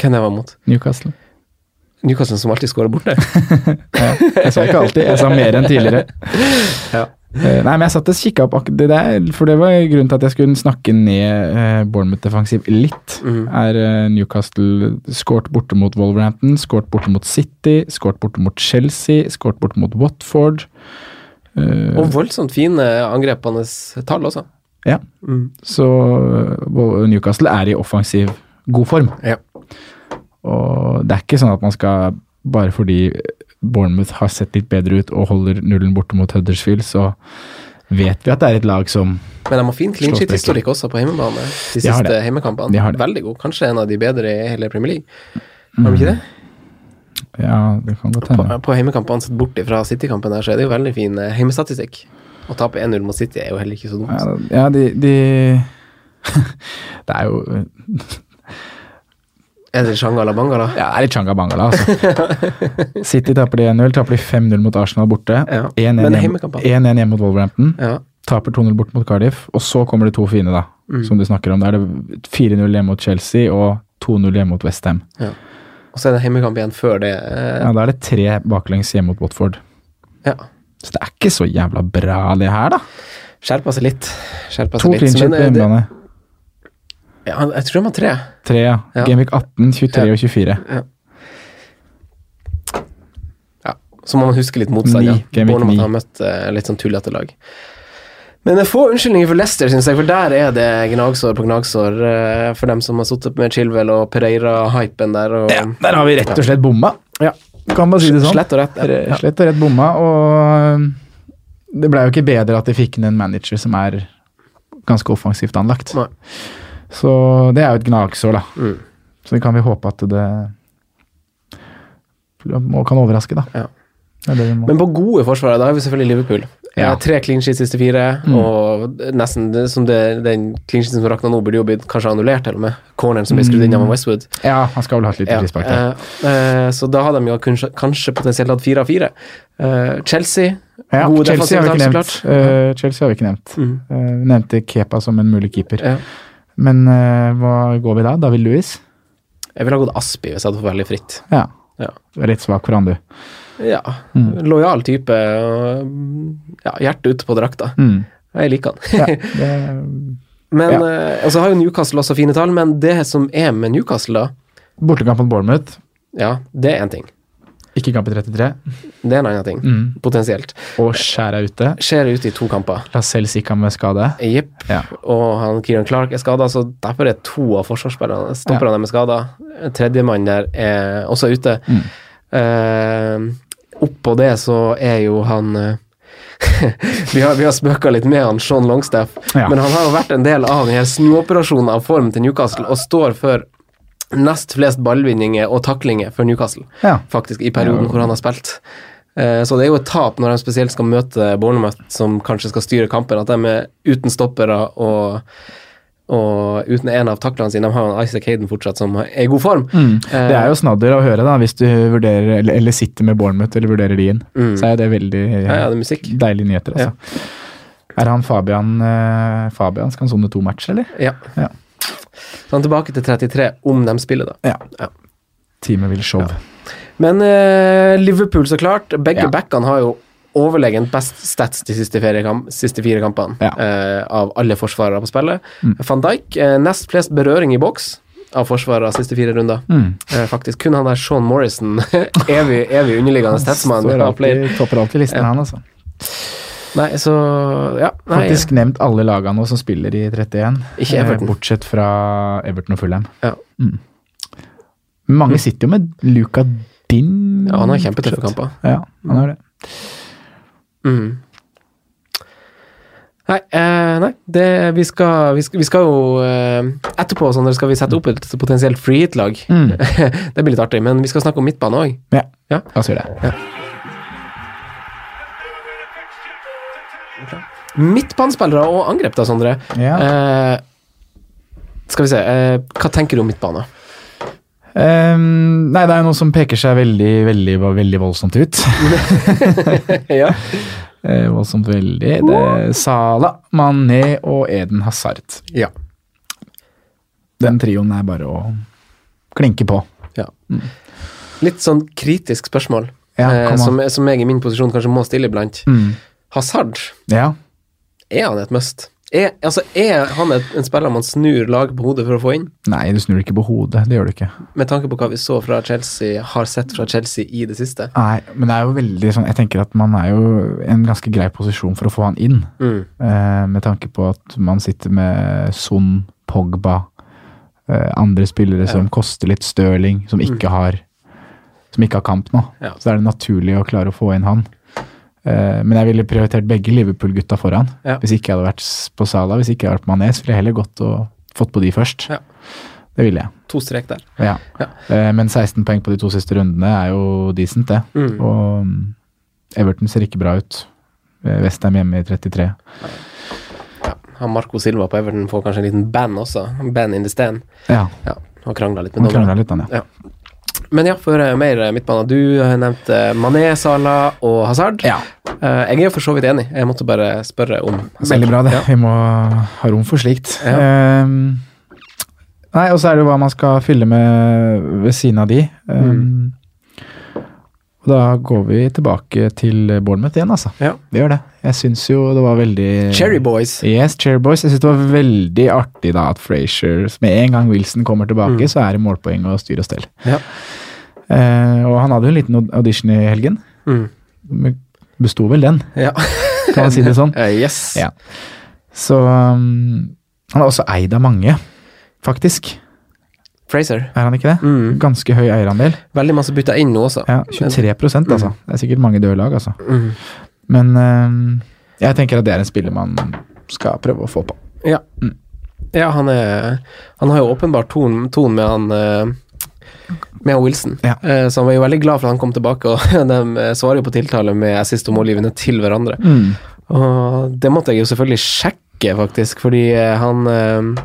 S3: Hvem jeg var mot?
S4: Newcastle.
S3: Newcastle som alltid skårer borte.
S4: Jeg sa ikke alltid, jeg sa mer enn tidligere.
S3: Ja.
S4: Eh, Nei, men jeg satt og kikka opp akkurat det der, for det var grunnen til at jeg skulle snakke ned eh, Bournemouth defensiv litt.
S3: Mhm.
S4: Er eh, Newcastle skåret borte mot Wolverhampton, skåret borte mot City, skåret borte mot Chelsea, skåret borte mot Watford. Eh,
S3: Og voldsomt fine angrepende tall også.
S4: ja.
S3: Mm.
S4: Så eh, Newcastle er i offensiv god form.
S3: Ja.
S4: Og det er ikke sånn at man skal Bare fordi Bournemouth har sett litt bedre ut og holder nullen borte mot Huddersfield, så vet vi at det er et lag som
S3: Men de har fin clean
S4: Slå
S3: sheet-historikk også på hjemmebane. De
S4: De har
S3: siste
S4: det.
S3: hjemmekampene.
S4: De har det. Mm.
S3: Veldig god. Kanskje en av de bedre i hele Premier League. Har de ikke det?
S4: Ja, det kan godt hende.
S3: På, på hjemmekampene sett bort fra City-kampen der, så er det jo veldig fin eh, hjemmestatistikk. Å tape 1-0 mot City er jo heller ikke så dumt.
S4: Ja, ja, de, de Det er jo
S3: Er det Shangala Bangala?
S4: ja, det er litt Changa Bangala, altså. City taper de 1-0, taper de 5-0 mot Arsenal borte.
S3: Ja,
S4: 1-1 hjem-
S3: men
S4: 1-1
S3: hjemmekampen.
S4: hjemme mot Wolverhampton.
S3: Ja.
S4: Taper 2-0 bort mot Cardiff, og så kommer det to fine, da.
S3: Mm.
S4: Som du snakker om. Da er det 4-0 hjemme mot Chelsea og 2-0 hjemme mot Westham.
S3: ja. Og så er det hjemmekamp igjen før det. eh,
S4: Ja, da er det tre baklengs hjemme mot Watford.
S3: Ja.
S4: Så det er ikke så jævla bra, det her, da.
S3: Skjerpa seg litt. Skjerpa
S4: To
S3: seg
S4: clean
S3: litt.
S4: shit
S3: Men,
S4: på
S3: eh, det,
S4: hjemmebane.
S3: ja, jeg tror de har tre.
S4: Tre, ja.
S3: Ja.
S4: Gamevik 18, 23
S3: Ja.
S4: og 24.
S3: Ja, så må man huske litt motstand.
S4: Ni,
S3: Ja.
S4: Gameweek
S3: Bournemouth
S4: ni.
S3: har møtt eh, litt sånn tullete lag. Men det er få unnskyldninger for Leicester, syns jeg, for der er det gnagsår på gnagsår eh, for dem som har sittet med Chilwell og Pereira-hypen der. Og,
S4: Ja, der har vi rett og slett bomma.
S3: Ja.
S4: Kan bare si det sånn.
S3: Slett og rett.
S4: Re-
S3: Ja.
S4: Slett og rett bomma, og um, det blei jo ikke bedre at de fikk inn en manager som er ganske offensivt anlagt.
S3: Nei.
S4: Så det er jo et gnagsår, da.
S3: Mm.
S4: Så det kan vi håpe at det må, kan overraske, da.
S3: Ja.
S4: Det er det vi må.
S3: Men på gode forsvarere, da er vi selvfølgelig Liverpool.
S4: Ja. Mm.
S3: Ja. Tre clean sheets siste fire, og nesten det- som det, den clean sheeten som rakna nå, burde jo blitt kanskje annullert, til og med. Corneren som ble skrudd inn av
S4: Mm.
S3: Westwood.
S4: ja, han skal vel ha et lite
S3: Ja,
S4: frispark der.
S3: eh, eh, så da hadde de jo kanskje, kanskje potensielt hatt fire av fire. Eh, Chelsea,
S4: Ja,
S3: gode
S4: Chelsea
S3: defensive
S4: har vi ikke
S3: tall,
S4: nevnt.
S3: så
S4: Eh, Chelsea har vi ikke nevnt.
S3: Mm.
S4: Eh, vi nevnte Kepa som en mulig keeper.
S3: Ja.
S4: Men eh, hva går vi da? David Louis?
S3: Jeg ville ha gått Aspi hvis jeg hadde fått veldig fritt.
S4: Ja.
S3: Ja.
S4: Du er litt svak for han, du.
S3: Ja,
S4: Mm.
S3: Lojal type. og, mm, Ja, hjertet ute på drakta.
S4: Mm.
S3: Jeg liker han.
S4: Ja, det-
S3: men,
S4: Ja.
S3: eh, Og så har jo Newcastle også fine tall, men det som er med Newcastle, da,
S4: Bortekamp mot Bournemouth,
S3: ja, det er én ting.
S4: ikke kamp i 33.
S3: Det er en annen ting,
S4: Mm.
S3: potensielt.
S4: Og Skjær er ute.
S3: Skjer ute i to kamper.
S4: Lascelles ikke har med skade.
S3: Jepp.
S4: Ja.
S3: Og han Kieran Clark er skada, så derfor er to av forsvarsspillerne stopperne deres skada. Tredjemann der er også ute. Mm. Oppå det så er jo han eh, vi har, vi har spøka litt med han, Sean Longstaff,
S4: Ja.
S3: men han har jo vært en del av den her snuoperasjonen av form til Newcastle og står for nest flest ballvinninger og taklinger for Newcastle,
S4: Ja.
S3: faktisk, i perioden hvor han har spilt. Eh, Så det er jo et tap når de spesielt skal møte Bournemouth, som kanskje skal styre kampen, at de er uten stoppere og, og uten en av taklene sine. De har jo Isaac Hayden fortsatt, som er i god form.
S4: Mm.
S3: Eh,
S4: Det er jo snadder å høre, da, hvis du vurderer, eller, eller sitter med Bournemouth eller vurderer de inn. Så er jo det veldig
S3: Mm. ja, ja, det er musikk.
S4: deilige nyheter, altså. Er han Fabian eh, Fabian, skal han sone to matcher, eller?
S3: Eh, Ja.
S4: Ja.
S3: Så han er tilbake til 33, om de spiller, da. Ja.
S4: Teamet vil show.
S3: Men eh, Liverpool, så klart. Begge
S4: Ja.
S3: backene har jo overlegent best stats de siste, feriekamp, siste fire kampene
S4: Ja. Mm.
S3: eh, av alle forsvarere på spillet. Van Dijk, eh, nest flest berøring i boks av forsvarere siste fire runder.
S4: Mm.
S3: Eh, faktisk kun han der Sean Morrison, evig, evig underliggende statsmann.
S4: Står
S3: har player.
S4: alltid, topper alltid listen, han, altså.
S3: Nei, så ja. Nei,
S4: Faktisk nevnt alle lagene nå som spiller i 31,
S3: Ikke
S4: eh,
S3: Everton.
S4: bortsett fra Everton og Fulham.
S3: Ja.
S4: Mm. Mange sitter jo med Luca Din
S3: Mm. ja, han har kjempetøffe
S4: fortsatt.
S3: kamper.
S4: Ja, han har det.
S3: Mm. Mhm. Nei, eh, nei det, vi, skal, vi, skal, vi skal jo eh, Etterpå Sander, skal vi sette opp et potensielt free hit-lag.
S4: Mm.
S3: det blir litt artig, men vi skal snakke om midtbane òg.
S4: Ja,
S3: Mm. Ja.
S4: la oss gjøre det.
S3: Midtbanespillere og angrep, da, Sondre.
S4: Ja.
S3: Eh, skal vi se eh, Hva tenker du om midtbane?
S4: Ehm, nei, det er noe som peker seg veldig, veldig, veldig voldsomt ut.
S3: ja.
S4: Eh, voldsomt veldig. Det er Sala, Mané og Eden Hazard.
S3: ja.
S4: Den trioen er bare å klinke på.
S3: Litt sånn kritisk spørsmål,
S4: Ja,
S3: eh,
S4: kom an.
S3: som, som jeg i min posisjon kanskje må stille iblant.
S4: Mm.
S3: Hazard,
S4: Ja.
S3: er han et must? Er, altså, er han et, en spiller man snur lag på hodet for å få inn?
S4: Nei, du snur ikke på hodet. Det gjør du ikke.
S3: Med tanke på hva vi så fra Chelsea, har sett fra Chelsea i det siste.
S4: Nei, men det er jo veldig sånn Jeg tenker at man er jo i en ganske grei posisjon for å få han inn. Eh, med tanke på at man sitter med Son, Pogba, eh, andre spillere som koster litt Stirling, som ikke har som ikke har kamp nå.
S3: Ja.
S4: Så da er det naturlig å klare å få inn han. Eh, men jeg ville prioritert begge Liverpool-gutta foran.
S3: Ja.
S4: Hvis ikke jeg hadde vært s- på Sala, hvis ikke jeg hadde vært på Mané, så ville jeg heller gått og fått på de først.
S3: Ja.
S4: Det ville jeg.
S3: To strek der.
S4: Ja. Eh, men 16 poeng på de to siste rundene er jo decent, det.
S3: Mm.
S4: Og mm, Everton ser ikke bra ut. Eh, Westham hjemme i 33.
S3: Han Marco Silva på Everton får kanskje en liten band også. Band in the stand.
S4: Ja,
S3: Ja, og krangla litt
S4: han
S3: med
S4: krangla
S3: dommeren.
S4: litt, han, ja.
S3: Men ja, for eh, mer eh, midtbane. Du eh, nevnte Mané, Salah og Hazard.
S4: Ja.
S3: Eh, Jeg er jo for så vidt enig, jeg måtte bare spørre om Hazard.
S4: Veldig bra, det.
S3: Ja.
S4: Vi må ha rom for slikt.
S3: Ja.
S4: Ehm, nei, og så er det jo hva man skal fylle med ved siden av de.
S3: Mm.
S4: Ehm, og Da går vi tilbake til Bournemouth igjen, altså.
S3: Ja.
S4: Vi gjør det. Jeg syns jo det var veldig
S3: Cherry Boys.
S4: Yes, Cherry Boys. Jeg syns det var veldig artig da at Frazier Med en gang Wilson kommer tilbake, så er det målpoeng og styr og stell.
S3: Mm. Ja.
S4: Eh, og han hadde jo en liten audition i helgen.
S3: Mm.
S4: Men Besto vel den,
S3: Ja.
S4: kan man si det sånn.
S3: Eh, Yes.
S4: Ja. Så um, han er også eid av mange, faktisk.
S3: Fraser.
S4: Er han ikke det?
S3: Mm.
S4: Ganske høy eierandel.
S3: Veldig masse bytta inn nå også.
S4: Ja, 23 altså. Det er sikkert mange døde lag, altså.
S3: Mm.
S4: Men um, jeg tenker at det er en spiller man skal prøve å få på.
S3: Ja. ja, han er Han har jo åpenbart ton, ton med han eh, Med han Wilson.
S4: Ja.
S3: Eh, Så han var jo veldig glad for at han kom tilbake, og de eh, svarer jo på tiltale med assist og målgivende til hverandre.
S4: Mm.
S3: Og det måtte jeg jo selvfølgelig sjekke, faktisk, fordi eh, han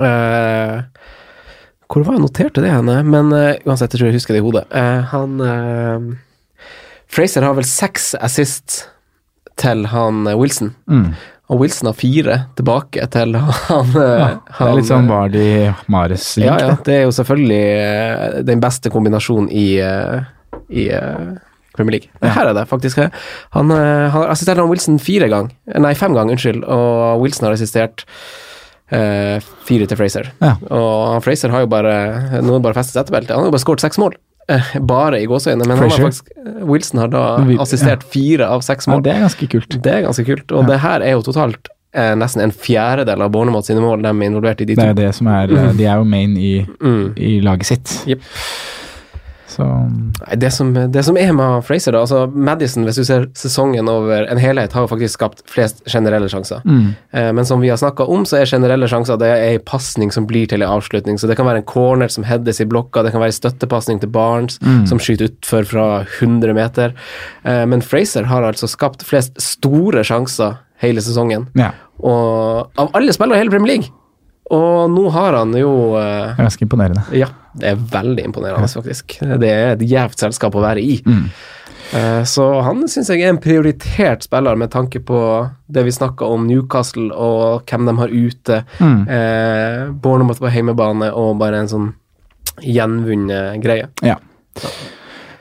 S3: eh, eh, Hvor var jeg noterte det henne? Men eh, uansett, jeg tror jeg husker det i hodet. Eh, han eh, Fraser har vel seks assist til han eh, Wilson.
S4: Mm.
S3: Og Wilson har fire tilbake til han, eh,
S4: Det
S3: han
S4: er litt sånn var de Mares link,
S3: ja, ja,
S4: det.
S3: det er jo selvfølgelig eh, den beste kombinasjonen i, eh, i eh, Premier League. Nei, Her er det faktisk. eh, Han, eh, han har assistert han Wilson fire gang, nei fem gang, unnskyld, og Wilson har assistert eh, fire til Fraser.
S4: Ja.
S3: Og han Fraser har jo bare noen bare festet seg til beltet. Han har jo bare skåret seks mål. Eh, bare i gåseøynene, men han
S4: Fraser?
S3: har faktisk, eh, Wilson har da
S4: Vi-
S3: assistert fire av seks
S4: Ja,
S3: mål.
S4: det er ganske kult.
S3: Det er ganske kult. Og det her er jo totalt eh, nesten en fjerdedel av Bornemot sine mål, de er involvert i de
S4: Det
S3: to.
S4: er jo det som er eh, De er jo main i,
S3: Mm.
S4: i laget sitt.
S3: Jepp.
S4: Så
S3: Nei, det som, det som er med Fraser, da altså Madison, hvis du ser sesongen over en helhet, har jo faktisk skapt flest generelle sjanser.
S4: mm.
S3: Eh, Men som vi har snakka om, så er generelle sjanser det er ei pasning som blir til ei avslutning. Så det kan være en corner som heades i blokka, det kan være ei støttepasning til Barnes som skyter utfor fra 100 meter. Eh, Men Fraser har altså skapt flest store sjanser hele sesongen.
S4: Ja.
S3: Og av alle spillere i hele Premier League! Og nå har han jo eh,
S4: Det er ganske imponerende.
S3: ja, det er veldig imponerende, faktisk. Det er et jævt selskap å være i.
S4: Mm.
S3: Eh, Så han syns jeg er en prioritert spiller, med tanke på det vi snakka om Newcastle og hvem de har ute.
S4: Mm.
S3: Eh, Bournemouth på hjemmebane og bare en sånn gjenvunnet greie.
S4: Ja.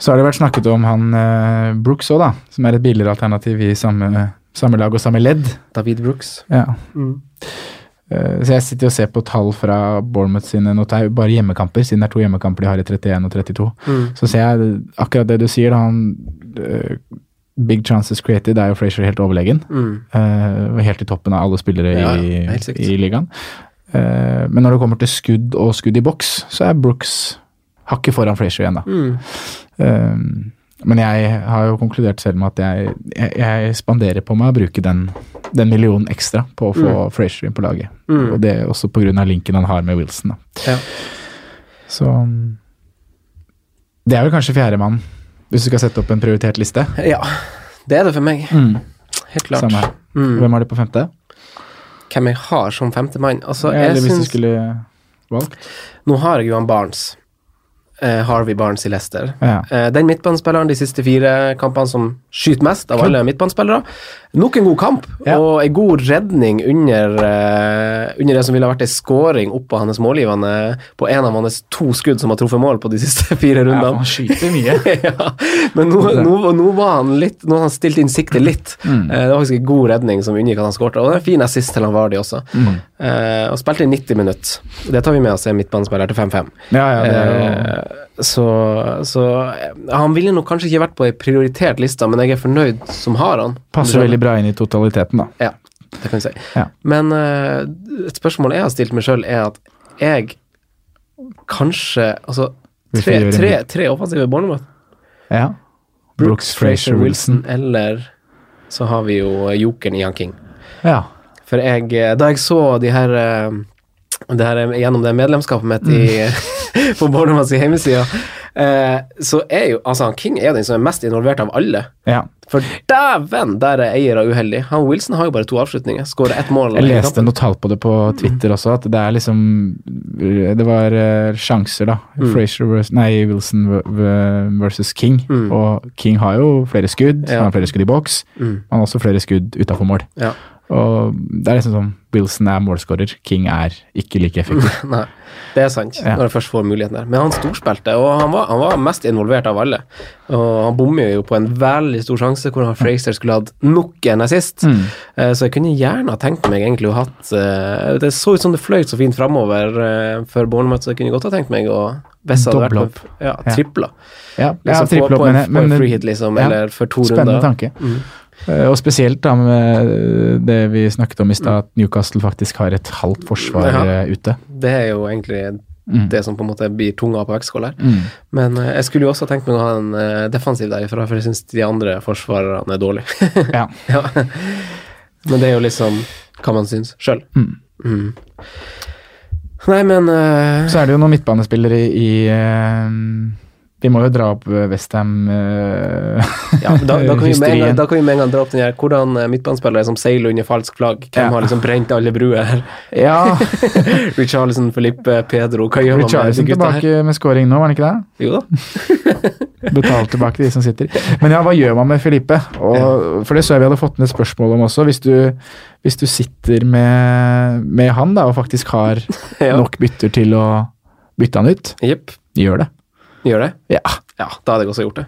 S4: Så har det vært snakket om han eh, Brooks òg, da. Som er et billigere alternativ i samme, samme lag og samme ledd.
S3: David Brooks.
S4: Ja.
S3: Mm.
S4: Eh, så jeg sitter og ser på tall fra Bournemouth sine nå, det er jo bare hjemmekamper, siden det er to hjemmekamper de har i 31 og 32.
S3: Mm.
S4: Så ser jeg akkurat det du sier, da. Han, eh, big chances created er jo Frazier helt overlegen.
S3: Mm.
S4: Eh, og helt i toppen av alle spillere
S3: Ja,
S4: i,
S3: ja, helt sikkert.
S4: i ligaen. Eh, men når det kommer til skudd og skudd i boks, så er Brooks hakket foran Frazier igjen, da.
S3: Mm.
S4: Ehm, Eh, men jeg har jo konkludert selv med at jeg, jeg, jeg spanderer på meg å bruke den den millionen ekstra på å få
S3: Mm.
S4: Frazier inn på laget. Og det er også pga. linken han har med Wilson. Da.
S3: Ja.
S4: Så mm, Det er vel kanskje fjerdemann, hvis du skal sette opp en prioritert liste.
S3: ja. Det er det for meg.
S4: Mm,
S3: Helt klart.
S4: Samme her.
S3: Mm.
S4: Hvem har du på femte?
S3: Hvem jeg har som femtemann? Altså,
S4: Ja,
S3: jeg
S4: Eller hvis du
S3: syns
S4: skulle valgt?
S3: Nå har jeg jo han Barnes. Eh, Harvey Barnes i Leicester.
S4: Ja.
S3: Eh, den midtbanespilleren de siste fire kampene som skyter mest av alle midtbanespillere. Nok en god kamp,
S4: Ja.
S3: og en god redning under, eh, under det som ville ha vært en scoring opp av hans målgivende på en av hans to skudd som har truffet mål på de siste fire
S4: Ja,
S3: rundene.
S4: han skyter mye.
S3: ja, men nå, nå, nå var han litt Nå har han stilt inn siktet litt.
S4: Mm.
S3: Eh, det var faktisk en god redning som unngikk at han skårte. Og det er en fin assist til han Vardi også.
S4: Mm.
S3: Eh, og spilte i 90 minutter. Det tar vi med oss i midtbanespiller til 5-5.
S4: Ja, ja, det er jo
S3: Eh, så så eh, han ville nok kanskje ikke vært på ei prioritert liste, men jeg er fornøyd som har han.
S4: Passer veldig bra inn i totaliteten, da.
S3: Ja, det kan vi si.
S4: Ja.
S3: Men eh, et spørsmål jeg har stilt meg sjøl, er at jeg kanskje Altså,
S4: Vi får
S3: tre,
S4: gjøre en
S3: tre,
S4: bit.
S3: tre offensive Bournemouth.
S4: Ja. Brooks, Frazier, Wilson.
S3: Eller så har vi jo jokeren Ian King.
S4: Ja.
S3: For jeg, eh, da jeg så de her, eh, det her eh, gjennom det medlemskapet mitt i,
S4: Mm.
S3: på Bornemanns hjemmeside, eh, så er jo altså han King er jo den som er mest involvert av alle.
S4: ja.
S3: For dæven, der er eiere uheldig. Han Wilson har jo bare to avslutninger. Skårer ett mål.
S4: Jeg
S3: i
S4: leste
S3: kampen.
S4: noe tall på det på Twitter også, at det er liksom Det var eh, sjanser, da.
S3: Mm.
S4: Frazier vers- nei, Wilson v- v- versus King. Og King har jo flere skudd.
S3: Mm. Ja. Mm.
S4: Han har flere skudd i boks. Han har også flere skudd utafor mål.
S3: Ja.
S4: Og det er liksom sånn Wilson er målskårer, King er ikke like effektiv.
S3: Nei, det er sant,
S4: Ja.
S3: når jeg først får muligheten der. Men han storspilte, og han var, han var mest involvert av alle. Og han bommer jo på en veldig stor sjanse hvor han Fraser skulle hatt nok en assist.
S4: Mm.
S3: Eh, Så jeg kunne gjerne ha tenkt meg egentlig å hatt eh, Det så ut som det fløyt så fint framover for Bournemouth, så jeg kunne godt ha tenkt meg å hvis det hadde
S4: Doble
S3: vært på- Ja,
S4: Ja.
S3: tripla.
S4: Ja, ja,
S3: Liksom
S4: triple
S3: på,
S4: opp,
S3: på en,
S4: mener jeg,
S3: på en
S4: men-
S3: free hit, liksom,
S4: ja.
S3: eller for to runder. Mm.
S4: Spennende tanke. Eh, Og spesielt da med eh, det vi snakket om i stad, at Newcastle faktisk har et halvt forsvar
S3: Ja.
S4: eh, ute.
S3: Det er jo egentlig det som på en måte blir tunga på vektskåla her.
S4: Mm.
S3: Men eh, jeg skulle jo også tenkt meg å ha en eh, defensiv derifra, for jeg syns de andre forsvarerne er dårlige.
S4: Ja.
S3: ja. Men det er jo liksom hva man syns sjøl.
S4: Mm.
S3: Mm. Nei, men eh,
S4: Så er det jo noen midtbanespillere i, i eh, Vi må jo dra opp eh, Westham eh,
S3: ja, da, da, kan vi med en gang,
S4: Hysterien.
S3: da kan vi med en gang dra opp den her Hvordan eh, midtbanespillere som seiler under falsk flagg? Hvem
S4: Ja.
S3: har liksom brent alle bruer her?
S4: Ja,
S3: Richarlison, Felipe, Pedro Hva gjør man med de
S4: Richarlison
S3: gutta her?
S4: tilbake med scoring nå, var han ikke det?
S3: Jo da.
S4: Betalt tilbake de som sitter. Men ja, hva gjør man med Felipe? Og, for det så jeg vi hadde fått ned spørsmål om også. Hvis du, hvis du sitter med, med han da, og faktisk har
S3: Ja.
S4: nok bytter til å bytte han ut,
S3: Jepp.
S4: gjør det.
S3: Gjør det?
S4: Ja,
S3: Ja, da hadde jeg også gjort det.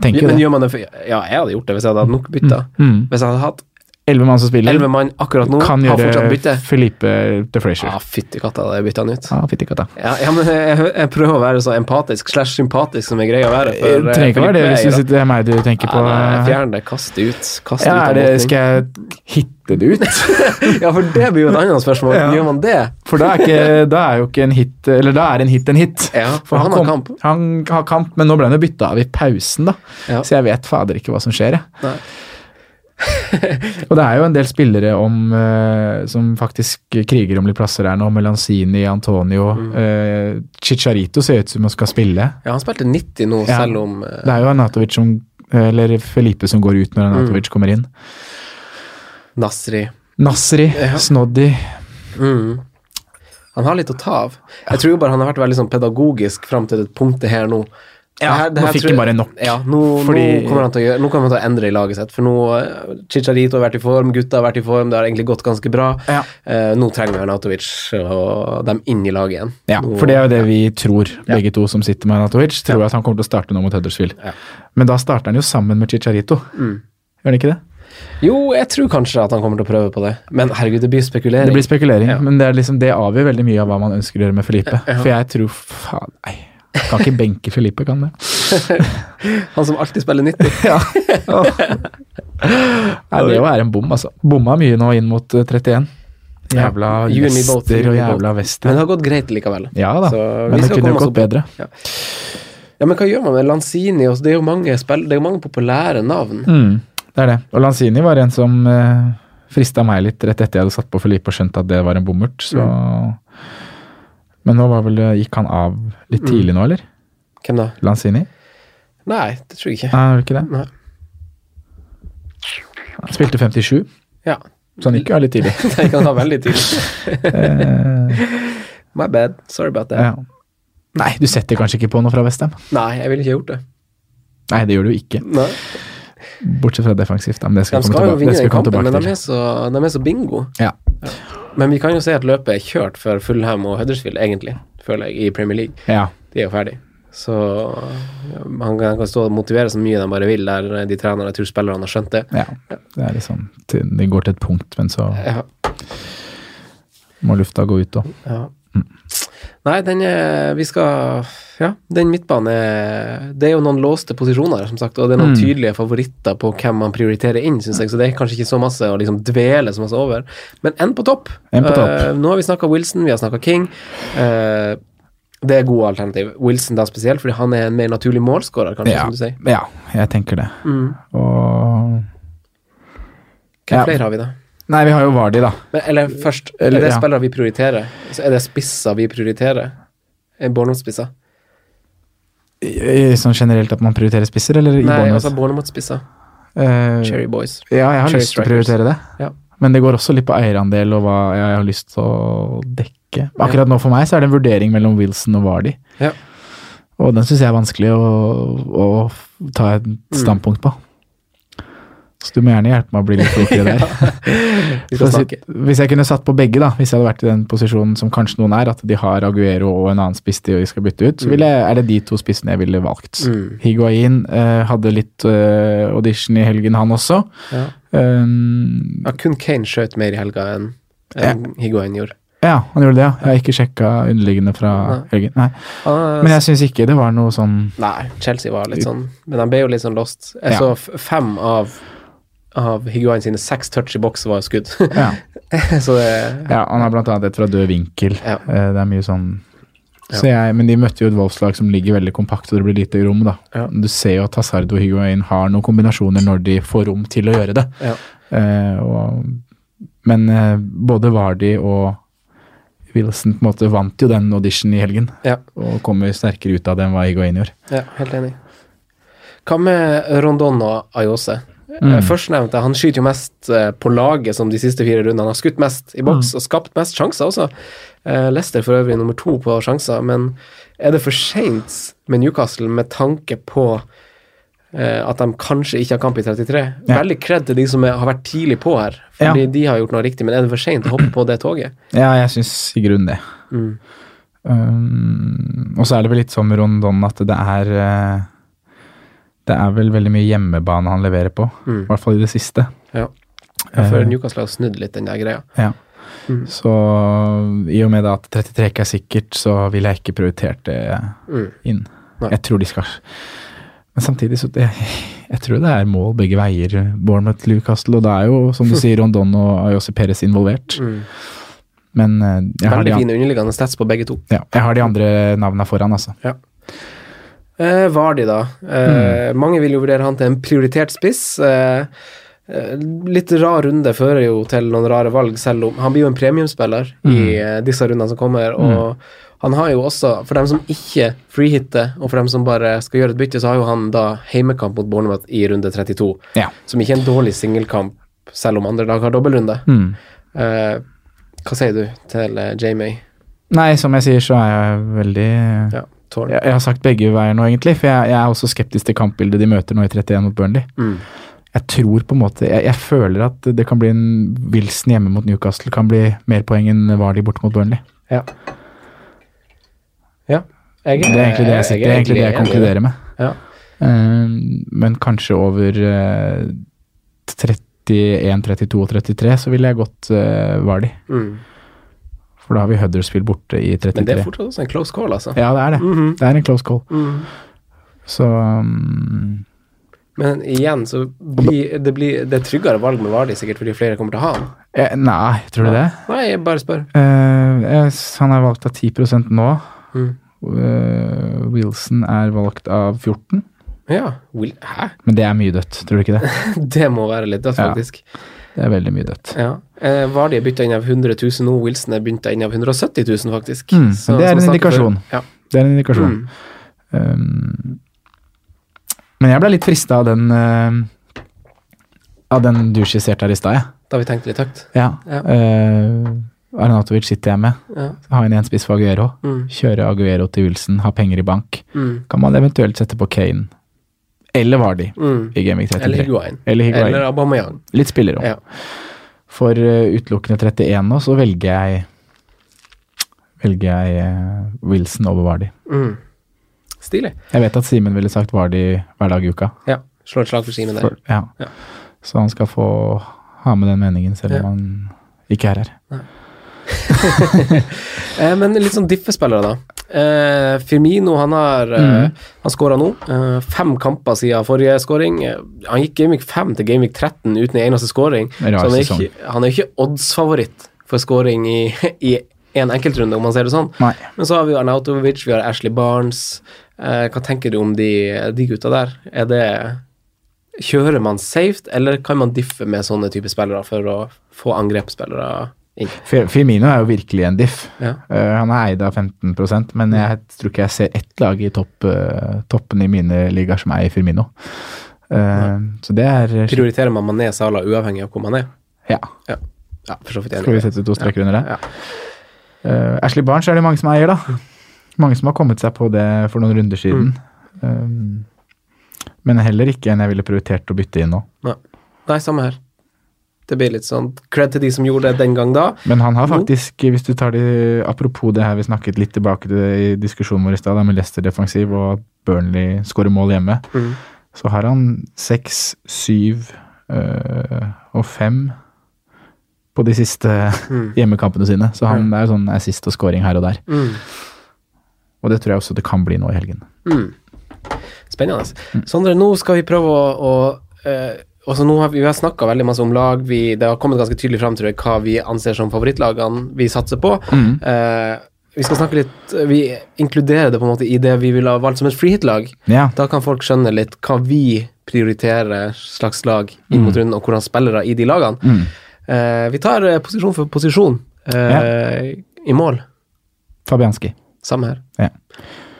S4: tenker
S3: Men
S4: jo det.
S3: gjør man det for Ja, jeg hadde gjort det hvis jeg hadde hatt nok bytta.
S4: Mm.
S3: Hvis jeg hadde hatt
S4: Elleve mann som spiller,
S3: elleve mann akkurat nå,
S4: kan
S3: har fortsatt bytte. Ah,
S4: gjøre Felipe til Frazier.
S3: Ja, fytti katta, da hadde jeg bytta han ut.
S4: Ja, fytti katta.
S3: Ja, ja, men jeg, jeg prøver å være så empatisk slash sympatisk som jeg greier å være.
S4: Det
S3: For, eh,
S4: trenger ikke være det
S3: Filipe
S4: hvis
S3: Eira.
S4: du sitter det er meg du tenker på.
S3: Nei, nei, Fjern det, kast det ut. Kast det
S4: Ja,
S3: ut av
S4: er det,
S3: båten.
S4: skal jeg hitte det ut?
S3: Ja, for det blir jo et annet spørsmål.
S4: Ja.
S3: Gjør man det?
S4: For da er, ikke, da er jo ikke en hit Eller da er en hit en hit.
S3: Ja, for han har kamp.
S4: Han har kamp, men nå ble han jo bytta av i pausen, da.
S3: Ja.
S4: Så jeg vet fader ikke hva som skjer, jeg.
S3: Nei.
S4: Og det er jo en del spillere om, eh, som faktisk kriger om litt plasser her nå. Melanzini, Antonio.
S3: Mm.
S4: eh, Chicharito ser ut som han skal spille.
S3: Ja, han spilte 90 nå,
S4: Ja.
S3: selv om eh,
S4: Det er jo Anatovic som Eller Felipe som går ut når
S3: Mm.
S4: Anatovic kommer inn.
S3: Nasri
S4: Nasri, Snoddy
S3: mm. Han har litt å ta av. Jeg tror jo bare han har vært veldig sånn pedagogisk fram til det punktet her nå.
S4: Ja, nå
S3: tror
S4: fikk han
S3: jeg-
S4: bare nok.
S3: Ja, nå,
S4: Fordi-
S3: nå, kommer han til å gjøre, nå kommer han til å endre i laget sitt. For nå eh, Chicharito har vært i form, gutta har vært i form, det har egentlig gått ganske bra.
S4: Ja.
S3: Eh, nå trenger vi Arnautovic og dem inn i laget igjen.
S4: Ja,
S3: nå,
S4: for det er jo det vi tror, begge to som sitter med Anatovic. Tror at han kommer til å starte nå mot Huddersfield.
S3: Ja. Mm.
S4: Men da starter han jo sammen med Chicharito. Gjør han ikke det?
S3: Jo, jeg tror kanskje at han kommer til å prøve på det. Men herregud, det blir spekulering.
S4: Det blir spekulering,
S3: Ja.
S4: men det, er liksom, det avgjør veldig mye av hva man ønsker å gjøre med Felipe. For jeg tror faen, nei. Kan ikke benke Felipe, kan det?
S3: Han som alltid spiller 90.
S4: Ja. Nei, det var en bom, altså. Bomma mye nå inn mot eh, 31. Jævla
S3: Ja. You and me both,
S4: Lester
S3: you and
S4: og
S3: me both.
S4: jævla
S3: Men
S4: Wester.
S3: det har gått greit likevel.
S4: Ja da,
S3: Så vi
S4: men det
S3: skal
S4: kunne
S3: komme
S4: jo
S3: oss
S4: gått
S3: opp.
S4: bedre.
S3: Ja, men hva gjør man med Lanzini? Altså, det, er jo mange spill, det er jo mange populære navn.
S4: Mm, det er det. Og Lanzini var en som eh, frista meg litt rett etter jeg hadde satt på Felipe og skjønt at det var en bommert. Så.
S3: Mm.
S4: Men nå var vel, gikk han av litt tidlig
S3: Mm.
S4: nå, eller?
S3: Hvem da?
S4: Lanzini?
S3: Nei, det tror jeg ikke.
S4: Nei, var det ikke det?
S3: Nei.
S4: Han spilte 57,
S3: Ja.
S4: så han gikk jo av litt tidlig.
S3: Det kan ta veldig tidlig.
S4: Eh,
S3: My bad. Sorry about that.
S4: ja. Nei, du setter kanskje ikke på noe fra Westham?
S3: Nei, jeg ville ikke gjort det.
S4: Nei, det gjør du jo ikke.
S3: Nei.
S4: Bortsett fra defensivt, da. Men det skal
S3: De
S4: vi komme
S3: skal jo
S4: tilbake,
S3: vinne
S4: det
S3: den
S4: skal vi komme
S3: kampen, men de
S4: tilbake til.
S3: er, så, de er så bingo.
S4: Ja.
S3: Men vi kan jo si at løpet er kjørt for Fulham og Huddersfield, egentlig, føler jeg, i Premier League.
S4: ja.
S3: De er jo ferdig. Så ja, han kan kan stå og motivere så mye de bare vil der de trenerne jeg tror spillerne har skjønt det.
S4: Ja. Det er liksom til, Det går til et punkt, men så
S3: Ja,
S4: må lufta gå ut òg.
S3: ja.
S4: Mm.
S3: Nei, den er Vi skal Ja, den midtbanen er Det er jo noen låste posisjoner, som sagt, og det er noen
S4: Mm.
S3: tydelige favoritter på hvem man prioriterer inn, syns jeg, så det er kanskje ikke så masse å liksom dvele så masse over. Men en på topp.
S4: En på topp.
S3: Eh, nå har vi snakka Wilson, vi har snakka King. Eh, det er gode alternativ. Wilson da spesielt, fordi han er en mer naturlig målskårer, kanskje,
S4: Ja.
S3: som du sier.
S4: ja, jeg tenker det.
S3: Mm.
S4: Og
S3: Hvem
S4: Ja.
S3: flere har vi, da?
S4: Nei, vi har jo Vardi, da.
S3: Men, eller først,
S4: Eller,
S3: er det
S4: ja.
S3: spillere vi prioriterer? Så er det spisser vi prioriterer? Eh, Er Bournemouth-spisser?
S4: I, i, sånn generelt at man prioriterer spisser, eller i
S3: Nei,
S4: Bournemouth?
S3: altså Bournemouth-spisser.
S4: Eh,
S3: Cherry Boys.
S4: ja, jeg har
S3: Cherry
S4: lyst til å
S3: Strikers.
S4: prioritere det.
S3: Ja.
S4: Men det går også litt på eierandel og hva jeg har lyst til å dekke. Akkurat nå for meg så er det en vurdering mellom Wilson og Vardi.
S3: Ja.
S4: Og den syns jeg er vanskelig å, å ta et
S3: Mm.
S4: standpunkt på. Så du må gjerne hjelpe meg å bli litt klokere der.
S3: Vi skal
S4: Så
S3: snakke.
S4: si- Hvis jeg kunne satt på begge, da, hvis jeg hadde vært i den posisjonen som kanskje noen er, at de har Aguero og en annen spiss de skal bytte ut, så ville, jeg- er det de to spissene jeg ville valgt.
S3: Mm.
S4: Higuain eh, hadde litt eh, audition i helgen, han også.
S3: Ja.
S4: Um,
S3: ja, kun Kane skjøt mer i helga enn enn Higuain gjorde.
S4: ja, han gjorde det, ja. Jeg har ikke sjekka underliggende fra helgen. Nei.
S3: Ah,
S4: Men jeg syns ikke det var noe sånn
S3: Nei, Chelsea var litt sånn Men de ble jo litt sånn lost. Jeg
S4: Ja.
S3: så f- fem av av Higuain sine seks touch i boks var skudd.
S4: ja.
S3: så det
S4: ja, han har blant annet et fra død vinkel.
S3: Ja.
S4: Eh, Det er mye sånn så jeg, Men de møtte jo et Wolfslag som ligger veldig kompakt, og det blir lite rom, da.
S3: Ja.
S4: Du ser jo at Hazard og Higuain har noen kombinasjoner når de får rom til å gjøre det.
S3: Ja.
S4: Eh, og, men eh, både Vardi og Wilson på en måte vant jo den auditionen i helgen,
S3: Ja.
S4: og kommer sterkere ut av det enn hva Higuain gjorde.
S3: Ja, helt enig. Hva med Rondon og Ayose? Eh,
S4: Mm.
S3: Førstnevnte, han skyter jo mest eh, på laget som de siste fire rundene. Han har skutt mest i boks
S4: Mm.
S3: og skapt mest sjanser også. Eh, Leicester for øvrig nummer to på sjanser, men er det for seint med Newcastle med tanke på eh, at de kanskje ikke har kamp i 33?
S4: Ja.
S3: Veldig kred til de som er, har vært tidlig på her,
S4: Ja.
S3: fordi de har gjort noe riktig, men er det for seint å hoppe på det toget?
S4: Ja, jeg syns i grunnen det.
S3: Mm.
S4: Um, og så er det vel litt som Rondon at det er eh, Det er vel veldig mye hjemmebane han leverer på, i
S3: Mm.
S4: hvert fall i det siste.
S3: Ja. Jeg
S4: Eh.
S3: føler Newcastle har snudd litt den der greia.
S4: Ja.
S3: Mm.
S4: Så i og med da at 33 ikke er sikkert, så ville jeg ikke prioritert det
S3: Mm.
S4: inn.
S3: Nei.
S4: Jeg tror de skal Men samtidig så jeg, jeg tror det er mål begge veier, Bournemouth, Newcastle, og det er jo, som du sier, Rondon og Ayose Perez involvert.
S3: Mm.
S4: Men eh, jeg har, de,
S3: Veldig
S4: an-
S3: fine underliggende stats på begge to.
S4: ja, jeg har de andre navnene foran, altså.
S3: Eh, Vardi, da. Eh, Mange vil jo vurdere han til en prioritert spiss. Eh, eh, litt rar runde fører jo til noen rare valg, selv om han blir jo en premiumspiller i eh, disse rundene som kommer. Og han har jo også, for dem som ikke freehitter, og for dem som bare skal gjøre et bytte, så har jo han da heimekamp mot Bournemouth i runde 32,
S4: Ja.
S3: som ikke er en dårlig singelkamp, selv om andre lag har dobbeltrunde.
S4: Mm.
S3: Eh, hva sier du til eh, Jamie?
S4: Nei, som jeg sier, så er jeg veldig
S3: Ja, Tårn.
S4: jeg, jeg har sagt begge veier nå, egentlig. For jeg, jeg er også skeptisk til kampbildet de møter nå i 31 mot Burnley.
S3: Mm.
S4: Jeg tror på en måte Jeg, jeg føler at det kan bli en Wilson hjemme mot Newcastle kan bli mer poeng enn Vardy borte mot Burnley.
S3: Ja. ja. Jeg,
S4: Det er egentlig det jeg, sitter, det er egentlig det
S3: enig
S4: jeg
S3: i det.
S4: konkluderer med.
S3: Ja.
S4: Eh, men kanskje over eh, 31, 32 og 33 så ville jeg gått eh, Vardy.
S3: Mm.
S4: For da har vi Huddersfield borte i 33.
S3: Men det er fortsatt også en close call, altså.
S4: Ja, det er det.
S3: Mhm.
S4: Det er en close call.
S3: Mm.
S4: Så mm,
S3: Men igjen, så blir det, blir, det er tryggere valg med Vardi, sikkert fordi flere kommer til å ha han.
S4: eh, Nei, tror du det?
S3: Nei, jeg bare spør.
S4: Eh, jeg s- han er valgt av 10 nå.
S3: Mm.
S4: Eh, Wilson er valgt av 14
S3: Ja. Will, hæ?
S4: Men det er mye dødt, tror du ikke det?
S3: Det må være litt dødt,
S4: Ja.
S3: faktisk.
S4: Det er veldig mye dødt.
S3: Ja. Eh, Vardi er bytta inn av 100 000 nå, Wilson er bytta inn av 170 000, faktisk.
S4: Mm,
S3: Så-
S4: det er
S3: som
S4: en
S3: sagt før-
S4: indikasjon.
S3: Ja.
S4: Det er en indikasjon.
S3: Mm.
S4: Um, men jeg ble litt frista av den eh, av den du skisserte her i stad, jeg.
S3: Da har vi tenkt litt høyt.
S4: Ja.
S3: Ja.
S4: Eh, Arnatovic sitter jeg med.
S3: Ja.
S4: Ha inn en spiss for Aguero.
S3: Mm.
S4: Kjøre Aguero til Wilson, ha penger i bank.
S3: Mm.
S4: Kan man eventuelt sette på Kane eller Vardi
S3: Mm.
S4: i Gaming 33?
S3: Eller Higuain.
S4: Eller Higuain.
S3: Eller Aubameyang.
S4: Litt spillerom.
S3: Ja.
S4: For eh, utelukkende 31 nå, så velger jeg velger jeg eh, Wilson over Vardi.
S3: Mm. Stilig.
S4: Jeg vet at Simen ville sagt Vardi hver dag i uka.
S3: Ja. Slå et slag for Simen der.
S4: For, ja.
S3: Ja.
S4: Så han skal få ha med den meningen, selv om
S3: Ja.
S4: han ikke er her.
S3: Eh, men litt sånn diffespillere, da. Eh, Firmino han har eh, Han skåra nå. Eh, fem kamper siden forrige skåring. Eh, han gikk Gameweek 5 til Gameweek 13 uten en eneste skåring. Så
S4: Rar
S3: han er
S4: sesong.
S3: ikke, han er ikke oddsfavoritt for skåring i, i en enkeltrunde, om man ser det sånn.
S4: Nei.
S3: Men så har vi jo Arnautovic, vi har Ashley Barnes. Eh, hva tenker du om de, de gutta der? Er det Kjører man safe, eller kan man diffe med sånne type spillere for å få angrepsspillere inn?
S4: Fir- Firmino er jo virkelig en diff.
S3: Ja. Mm.
S4: Eh, han er eid av 15 men jeg tror ikke jeg ser ett lag i topp, eh, toppen i mine ligaer som eier Firmino. Eh, så det er
S3: Prioriterer man Mané Sala uavhengig av hvor man er?
S4: Ja.
S3: Ja, ja for så vidt
S4: Skal vi
S3: enig.
S4: sette to streker under det?
S3: Ja.
S4: Eh, Ashley Barnes er det mange som eier, da. Mange som har kommet seg på det for noen runder siden. Eh, men heller ikke en jeg ville prioritert å bytte inn nå.
S3: Nei. Nei, samme her. Det blir litt sånn cred til de som gjorde det den gang da.
S4: Men han har faktisk, hvis du tar det Apropos det her vi snakket litt tilbake til i diskusjonen vår i stad, da, med Leicester defensiv og at Burnley skårer mål hjemme,
S3: Mm.
S4: så har han seks, syv øh, og fem på de siste
S3: Mm.
S4: hjemmekampene sine. Så han det er jo sånn assist og scoring her og der.
S3: Mm.
S4: Og det tror jeg også det kan bli nå i helgen.
S3: Mm. Spennende. Sondre, nå skal vi prøve å, å eh, altså nå har Vi, vi har snakka veldig masse om lag. Vi, det har kommet ganske tydelig fram tror jeg, hva vi anser som favorittlagene vi satser på. Eh, vi skal snakke litt Vi inkluderer det på en måte i det vi ville ha valgt som et freehit-lag.
S4: Ja.
S3: Da kan folk skjønne litt hva vi prioriterer slags lag inn mot runden, og hvordan spillere i de lagene. Eh, vi tar eh, posisjon for posisjon eh, i mål.
S4: Fabianski.
S3: Samme her.
S4: Ja.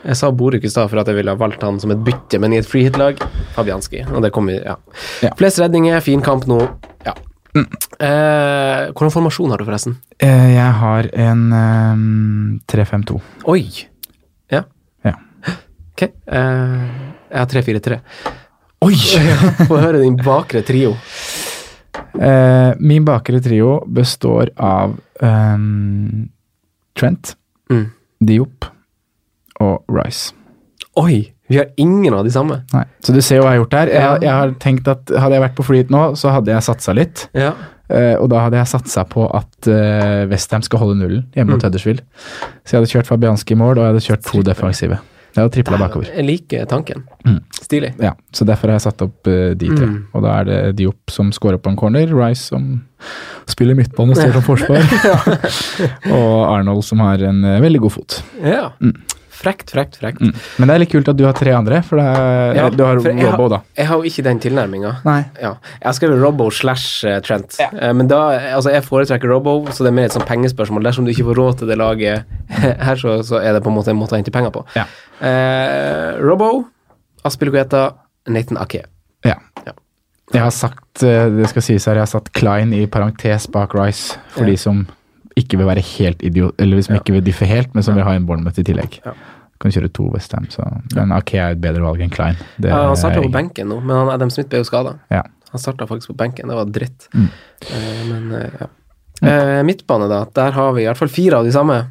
S3: Jeg sa Boruk i stad for at jeg ville ha valgt han som et bytte, men i et freehit-lag Fabianski. Og det kommer, ja.
S4: Ja. Mm.
S3: Flest redninger, fin kamp nå. Ja. Eh, hvordan formasjon har du, forresten?
S4: Eh, jeg har en ehm, 3-5-2.
S3: Oi! Ja.
S4: Ja.
S3: Ok. Eh, jeg har 3-4-3. Oi! Få høre din bakre trio.
S4: Eh, min bakre trio består av ehm, Trent,
S3: Mm.
S4: Diop og Rice.
S3: Oi! Vi har ingen av de samme.
S4: Nei. Så du ser jo hva jeg har gjort her. Jeg, jeg har tenkt at Hadde jeg vært på flyet nå, så hadde jeg satsa litt.
S3: Ja.
S4: Eh, og da hadde jeg satsa på at eh, Westham skal holde nullen hjemme mot Huddersfield. Så jeg hadde kjørt Fabianski i mål, og jeg hadde kjørt to defensive. Jeg hadde tripla bakover.
S3: Jeg liker tanken.
S4: Mm.
S3: Stilig.
S4: Ja, Så derfor har jeg satt opp eh, de tre.
S3: Mm.
S4: Og da er det Diop som scorer på en corner, Rice som spiller midtbane og står som forsvar, og Arnold som har en eh, veldig god fot.
S3: Ja. Frekt, frekt, frekt.
S4: Mm. Men det er litt kult at du har tre andre, for det er,
S3: Ja,
S4: du har
S3: for jeg har-
S4: Robo, da.
S3: Jeg har jo ikke den tilnærminga.
S4: Nei.
S3: Ja. Jeg har skrevet Robbo slash eh, Trent, Eh, men da, altså jeg foretrekker Robbo, så det er mer et sånn pengespørsmål. Dersom du ikke får råd til det laget her, så, så er det på en måte en måte å hente penger på.
S4: Ja.
S3: Eh, Robbo, Aspilicueta, Nathan Ake.
S4: Ja.
S3: Ja.
S4: Jeg har sagt, eh, det skal sies her, jeg har satt Klein i parentes bak Rice, for
S3: Ja.
S4: de som ikke vil være helt idiot, eller som ikke vil diffe helt, men som vil ha en Bournemouth i tillegg.
S3: Ja.
S4: Kan kjøre to Westham, så Men AK er et bedre valg enn Klein. Det
S3: Ja, han
S4: er
S3: starta på
S4: jeg-
S3: benken nå, men han Adam Smith ble jo skada.
S4: Ja.
S3: Han starta faktisk på benken, det var dritt.
S4: Mm.
S3: Eh, men eh, ja. Eh, midtbane, da. Der har vi i hvert fall fire av de samme.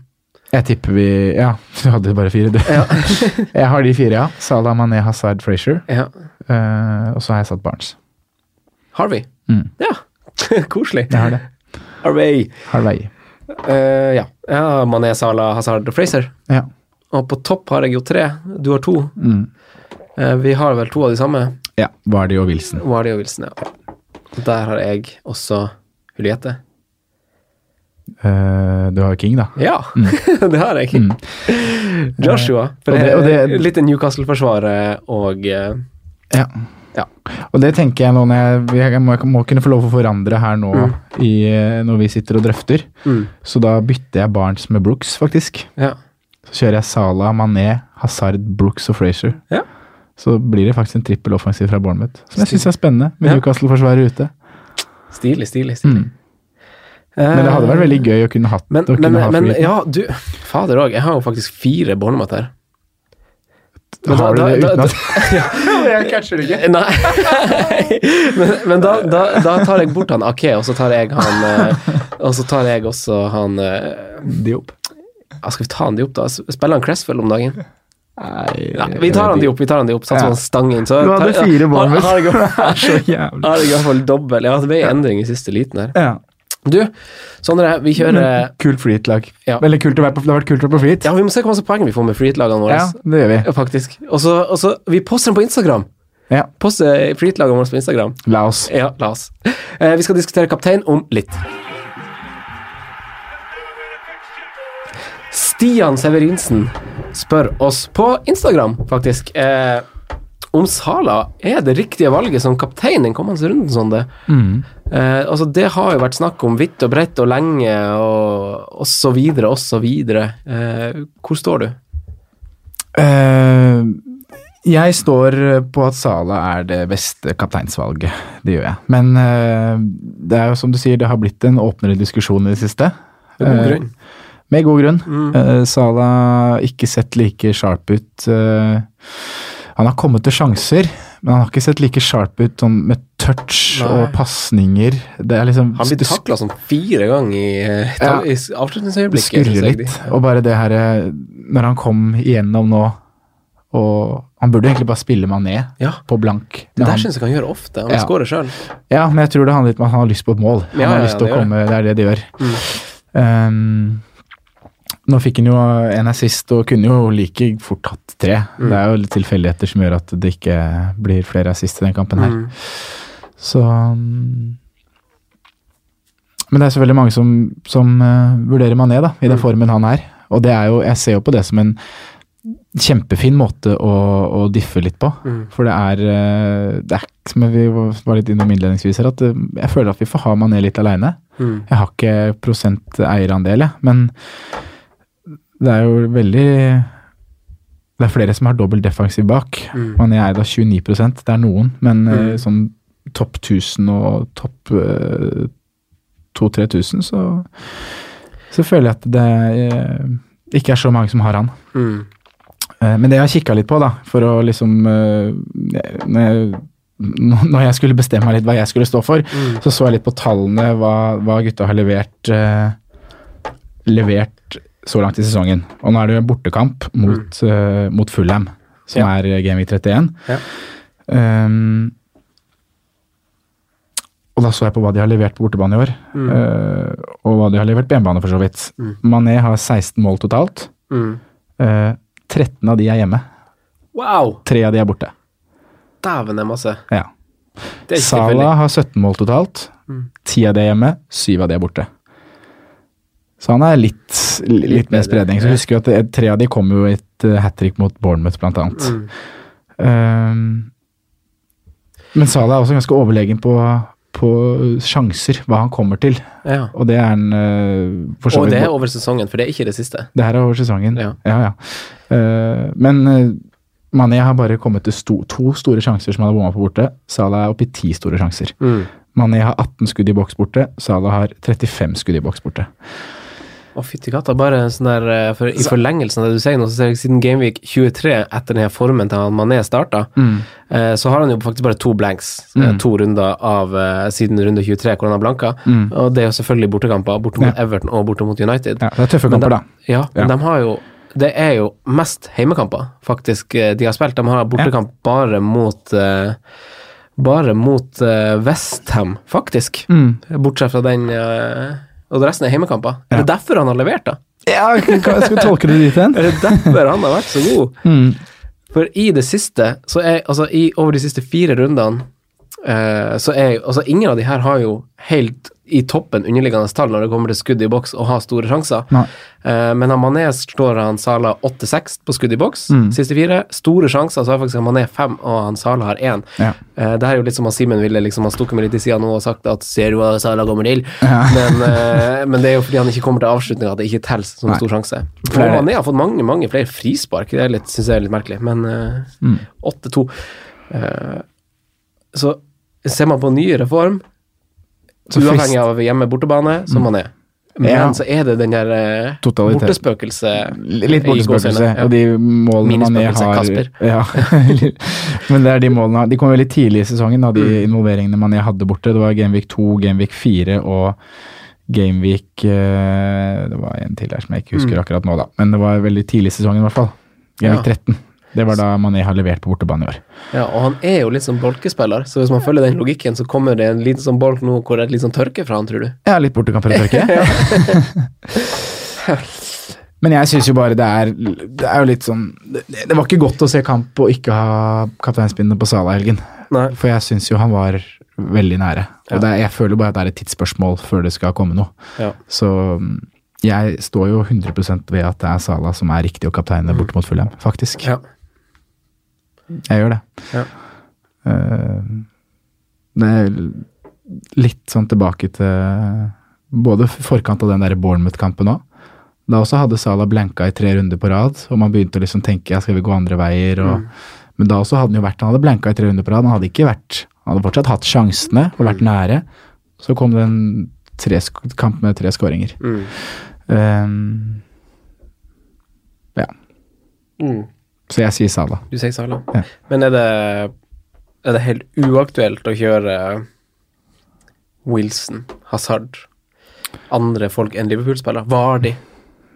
S4: Jeg tipper vi Ja, du hadde bare fire, du.
S3: Ja.
S4: jeg har de fire, ja. Salah, Mané, Hazard, Frazier.
S3: ja.
S4: Eh, og så har jeg satt Barnes.
S3: Harvey.
S4: Mm.
S3: Ja, koselig.
S4: Jeg har det.
S3: Harvey.
S4: Harvey.
S3: Eh, ja. ja. Mané, Salah, Hazard og Fraser.
S4: Ja.
S3: Og på topp har jeg jo tre. Du har to.
S4: Mm.
S3: Eh, vi har vel to av de samme.
S4: ja. Vardy og Wilson.
S3: Wardy og Wilson, ja. Der har jeg også Juliette.
S4: Eh, du har jo King, da.
S3: Ja, det har jeg. Joshua. For
S4: Mm. Og det- og
S3: det,
S4: det-
S3: litt Newcastle-forsvaret og eh,
S4: Ja.
S3: Ja.
S4: Og det tenker jeg nå når jeg, jeg må, jeg må kunne få lov å forandre her nå
S3: Mm.
S4: i, eh, når vi sitter og drøfter. Så da bytter jeg Barnes med Brooks, faktisk.
S3: Ja.
S4: Så kjører jeg Salah, Mané, Hazard, Brooks og Frazier.
S3: Ja.
S4: Så blir det faktisk en trippel offensiv fra Bournemouth. Som jeg syns er spennende, med
S3: Ja.
S4: Newcastle-forsvaret ute.
S3: Stilig, stilig. stilig. Eh,
S4: Mm. Men det hadde vært veldig gøy å kunne hatt
S3: Men,
S4: å kunne
S3: men,
S4: ha
S3: men
S4: Freed.
S3: ja, du Fader òg, jeg har jo faktisk fire Bornemat her. men
S4: Har du
S3: da-
S4: det
S3: da-
S4: uten
S3: da-
S4: at
S5: Jeg catcher det ikke.
S3: Eh, Nei. men men da, da, da tar jeg bort han Ake, og så tar jeg han eh, Og så tar jeg også han eh,
S4: Diop?
S3: ja, Skal vi ta han de opp, da? Spiller han Cresswell om dagen?
S4: Nei,
S3: Nei, vi tar han de opp, vi tar han de opp. Sånn som
S4: Ja.
S3: han stang inn. Så
S4: Du
S3: tar-
S4: hadde
S3: ja,
S4: fire
S3: har-
S4: Bournemouth.
S3: Har jeg i hvert-
S4: Så jævlig.
S3: har jeg i hvert fall dobbel. Ja, det ble endring i siste liten her.
S4: Ja.
S3: Du, Sondre, vi kjører
S4: Kult freehit-lag.
S3: Ja.
S4: Veldig kult å være på, det har vært kult å være på freehit.
S3: Ja, vi må se hvor mange poeng vi får med freehit-lagene våre.
S4: Ja, det gjør vi.
S3: Ja, faktisk. Og så, og så Vi poster dem på Instagram.
S4: Ja.
S3: Poste freehit-lagene våre eh, på Instagram.
S4: La oss.
S3: Ja, la oss. Eh, vi skal diskutere kaptein om litt. Stian Severinsen spør oss på Instagram, faktisk, eh, om Sala er det riktige valget som kaptein den kommende runden, Sondre.
S4: Mm.
S3: Eh, altså, det har jo vært snakk om vidt og bredt og lenge og, og så videre og så videre. Eh, hvor står du?
S4: Eh, jeg står på at Sala er det beste kapteinsvalget. Det gjør jeg. Men eh, det er jo som du sier, det har blitt en åpnere diskusjon i det siste.
S3: Med god
S4: Eh,
S3: grunn.
S4: Med god grunn.
S3: Mm.
S4: Eh, Salah ikke sett like sharp ut. eh, han har kommet til sjanser, men han har ikke sett like sharp ut sånn med touch
S3: Nei.
S4: og pasninger. Det er liksom
S3: Han blir
S4: det sk-
S3: takla sånn fire ganger i, eh,
S4: Ja.
S3: i s-
S4: det
S3: avslutningsøyeblikket. synes
S4: skurrer
S3: jeg de-
S4: litt. Og bare det her eh, Når han kom igjennom nå og Han burde jo egentlig bare spille Mané
S3: Ja.
S4: på blank.
S3: Det
S4: Men
S3: der
S4: han,
S3: syns jeg han gjør ofte. Han
S4: Ja.
S3: skårer sjøl.
S4: ja, men jeg tror det handler litt om at han har lyst på et mål. Han
S3: Ja,
S4: har
S3: ja,
S4: lyst til
S3: det Mm.
S4: å
S3: gjør
S4: komme, det er det det gjør. Ehm, nå fikk han jo en assist og kunne jo like fort hatt tre.
S3: Mm.
S4: Det er jo litt tilfeldigheter som gjør at det ikke blir flere assist i den kampen her. Så mm, Men det er selvfølgelig mange som, som eh, vurderer Mané da,
S3: Mm.
S4: i den formen han er. Og det er jo, jeg ser jo på det som en kjempefin måte å, å diffe litt på. For det er, eh, det er ikke- som vi var litt innom innledningsvis her, at eh, jeg føler at vi får ha Mané litt aleine. Jeg har ikke prosent eierandel, jeg, men det er jo veldig Det er flere som har dobbel defensiv bak.
S3: Mm.
S4: Mané er da 29 det er noen, men eh, sånn topp 1000 og topp eh, 2000-3000, så, så føler jeg at det eh, ikke er så mange som har han.
S3: Mm.
S4: Eh, Men det jeg har kikka litt på, da, for å liksom eh, når jeg, nå- når jeg skulle bestemme meg litt hva jeg skulle stå for,
S3: Mm.
S4: så så jeg litt på tallene, hva, hva gutta har levert eh, levert så langt i sesongen. Og nå er det jo en bortekamp mot, eh, mot Fulham, som
S3: Mm. Ja.
S4: er eh, Game Week 31.
S3: Ja.
S4: Ehm, og da så jeg på hva de har levert på bortebane i år,
S3: Mm.
S4: eh, og hva de har levert på hjemmebane, for så vidt. Mané har 16 mål totalt.
S3: Mm.
S4: Eh, 13 av de er hjemme.
S3: Wow!
S4: Tre av de er borte.
S3: Dæven, det er masse.
S4: Ja.
S3: Det er ikke Mm.
S4: Sala
S3: tilfeldig.
S4: har 17 mål totalt. 10 av de er hjemme, 7 av de er borte. Så han er litt, litt,
S3: Litt
S4: mer
S3: bedre,
S4: spredning. Så
S3: ja.
S4: husker vi at det- tre av de kom jo i et eh, hat trick mot Bournemouth, blant annet.
S3: Mm.
S4: Um, men Sala er også ganske overlegen på, på sjanser, hva han kommer til.
S3: Ja.
S4: Og det er han eh, for så
S3: Og det
S4: vidt
S3: er over sesongen, for det er ikke det siste.
S4: Det her er over sesongen.
S3: Ja.
S4: Ja, ja. Eh, men eh, Mané har bare kommet til sto, to store sjanser som han har bomma på borte. Salah er oppe i ti store sjanser. Mané har 18 skudd i boks borte. Salah har 35 skudd i boks borte.
S3: Å, fytti katta. Bare en sånn der eh, for, I forlengelsen av det du sier nå, så ser jeg siden Gameweek 23, etter den her formen til han Mané starta, eh, så har han jo faktisk bare to blanks. eh, To runder av eh, siden runde 23, hvor han har blanka. Og det er jo selvfølgelig bortekamper, borte mot
S4: Ja.
S3: Everton og borte mot United.
S4: Ja, det er tøffe
S3: Men
S4: kamper,
S3: de-
S4: da.
S3: Ja, men
S4: Ja.
S3: de har jo Det er jo mest heimekamper, faktisk, eh, de har spilt. De har bortekamp bare mot eh, Bare mot eh, Westham, faktisk.
S4: Mm.
S3: Bortsett fra den eh, Og resten er heimekamper. Er det derfor han har levert, da?
S4: Ja, jeg skal tolke det dit hen.
S3: Er det derfor han har vært
S4: Mm,
S3: så god? For i det siste, så er altså i over de siste fire rundene Eh, så er, altså ingen av de her har jo helt i toppen underliggende tall når det kommer til skudd i boks og har store sjanser.
S4: Nei.
S3: Eh, men han Mané slår han Sala 8-6 på skudd i boks,
S4: Mm.
S3: siste fire. Store sjanser, så har faktisk han Mané fem, og han Sala har én.
S4: Ja.
S3: Eh, det her er jo litt som han Simen ville, liksom, han stukket meg litt i sida nå og sagt at ser du hva Sala kommer til? Men, eh, men det er jo fordi han ikke kommer til avslutninga at det ikke teller som stor sjanse. Og Mané har fått mange, mange flere frispark, det er litt- synes jeg er litt merkelig, men eh,
S4: Mm.
S3: 8-2. Eh, så ser man på nyere form,
S4: Så Mm.
S3: uavhengig av hjemme-bortebane, som man er. Men
S4: Ja.
S3: så er det den der eh,
S4: Totalitet.
S3: bortespøkelse
S4: Litt
S3: eh, i
S4: bortespøkelse,
S3: gåseøyne, ja.
S4: og de målene Mané
S3: Minispøkelse,
S4: har
S3: Kasper.
S4: Ja. Men det er de målene De kom veldig tidlig i sesongen, da, de
S3: Mm.
S4: involveringene Mané hadde borte. Det var Gameweek 2, Gameweek 4 og Gameweek eh, Det var en til her som jeg ikke
S3: Mm.
S4: husker akkurat nå, da. Men det var veldig tidlig i sesongen, i hvert fall. Gameweek 13. Det var da Mané har levert på bortebane i år.
S3: Ja, og han er jo litt sånn bolkespiller, så hvis man følger den logikken, så kommer det en liten sånn bolk nå hvor det er litt sånn tørke fra han, tror du?
S4: Ja, litt bortekamper å tørke. Men jeg syns jo bare det er Det er jo litt sånn Det, det var ikke godt å se kamp og ikke ha kapteinspinnet på Sala i helgen.
S3: Nei.
S4: For jeg syns jo han var veldig nære. Og det er, jeg føler bare at det er et tidsspørsmål før det skal komme noe.
S3: Ja.
S4: Så mm, jeg står jo 100 ved at det er Sala som er riktig å kapteine bort mot Fulham, faktisk.
S3: Ja.
S4: Jeg gjør det.
S3: Ja.
S4: Eh, det er litt sånn tilbake til eh, både forkant av den der Bournemouth-kampen òg. Da også hadde Salah blanka i tre runder på rad, og man begynte å liksom tenke ja, skal vi gå andre veier. Og,
S3: Mm.
S4: Men da også hadde han jo vært, han hadde blanka i tre runder på rad. Han hadde ikke vært, han hadde fortsatt hatt sjansene og
S3: Mm.
S4: vært nære. Så kom det en tre, sk- kamp med tre skåringer.
S3: Mm.
S4: Eh, ja, så jeg sier Salah.
S3: Mm, Du sier Sala.
S4: Ja.
S3: Men er det, er det helt uaktuelt å kjøre eh, Wilson, Hazard, andre folk enn Liverpool-spillere? Vardi?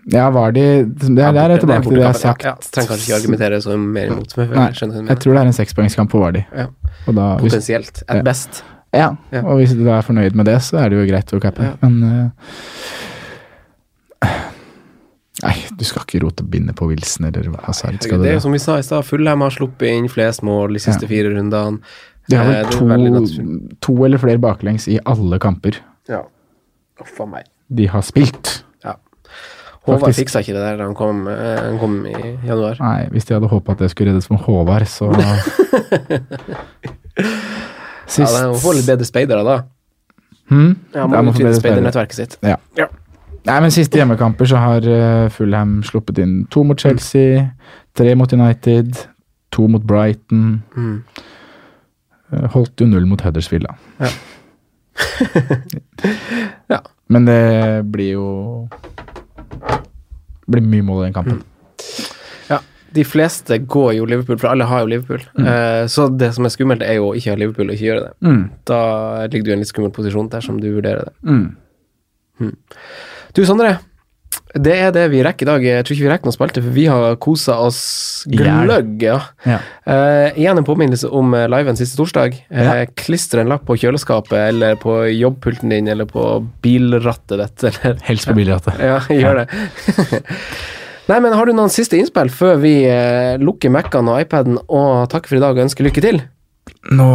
S4: Ja, var de Det er, der er jeg tilbake til det jeg har sagt.
S3: Ja, trenger kanskje ikke argumentere så mer imot, men
S4: Nei,
S3: jeg skjønner hva du
S4: jeg
S3: mener.
S4: tror det er en sekspoengskamp på Vardi.
S3: Ja.
S4: Og da, hvis,
S3: Potensielt. At
S4: Ja.
S3: best.
S4: ja,
S3: Ja.
S4: og hvis du da er fornøyd med det, så er det jo greit å cappe.
S3: Ja.
S4: Men eh, Nei, du skal ikke rote bindet på Wilson eller Hazard,
S3: Herregud,
S4: skal du
S3: det
S4: det?
S3: er jo som vi sa i stad, Fulheim har sluppet inn flest mål de siste
S4: Ja.
S3: fire rundene.
S4: De har
S3: Eh,
S4: vel
S3: det er veldig
S4: to,
S3: naturlig.
S4: to eller flere baklengs i alle kamper
S3: Ja. Uff a meg.
S4: de har spilt.
S3: Ja. Håvard
S4: Faktisk.
S3: fiksa ikke det der da han kom, eh, han kom i januar.
S4: Nei, hvis de hadde håpa at det skulle reddes med Håvard, så
S3: Ja, han får litt
S4: Sist
S3: bedre speidere da.
S4: Hm?
S3: Ja,
S4: Ja,
S3: må utvide
S4: man får bedre speidere.
S3: speidernettverket sitt.
S4: Ja.
S3: Ja.
S4: Nei, men siste hjemmekamper så har eh, Fulham sluppet inn to mot Chelsea, tre mot United, to mot Brighton.
S3: Mm.
S4: Eh, Holdt jo null mot Huddersfield, da.
S3: Ja. Ja.
S4: Men det blir jo det blir mye mål i den kampen.
S3: Ja, de fleste går jo Liverpool, for alle har jo Liverpool. Eh, så det som er skummelt, er jo å ikke ha Liverpool og ikke gjøre det.
S4: Mm.
S3: Da ligger du i en litt skummel posisjon dersom du vurderer det.
S4: Mm.
S3: Du, Sondre. Det er det vi rekker i dag. Jeg tror ikke vi rekker noe spalte, for vi har kosa oss
S4: Jævlig.
S3: gløgg. Ja.
S4: Ja.
S3: Eh, igjen en påminnelse om eh, liven siste torsdag. Eh,
S4: Ja.
S3: Klistre en lapp på kjøleskapet eller på jobbpulten din eller på bilrattet ditt. Eller,
S4: Helst på bilrattet.
S3: ja, gjør det. Nei, men Har du noen siste innspill før vi eh, lukker Mac-ene og iPaden og takker for i dag og ønsker lykke til?
S4: Nå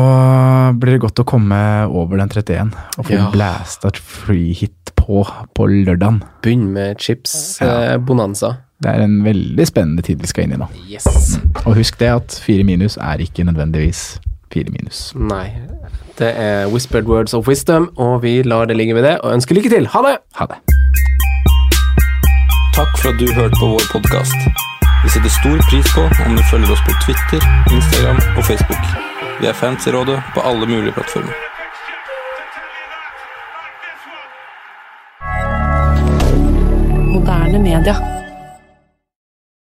S4: blir det godt å komme over den 31 og få
S3: Ja.
S4: blæsta et freehit på på lørdagen.
S3: Begynn med eh, chips-bonanza.
S4: Det er en veldig spennende tid vi skal inn i nå.
S3: yes!
S4: Og husk det at fire minus er ikke nødvendigvis fire minus.
S3: Nei. Det er Whispered Words of Wisdom, og vi lar det ligge ved det og ønsker lykke til. Ha det!
S4: Ha det.
S2: Takk for at du hørte på vår podkast. Vi setter stor pris på om du følger oss på Twitter, Instagram og Facebook. Vi er fans i rådet på alle mulige plattformer.
S6: the fixture to tell you that like this one.
S7: Moderne media.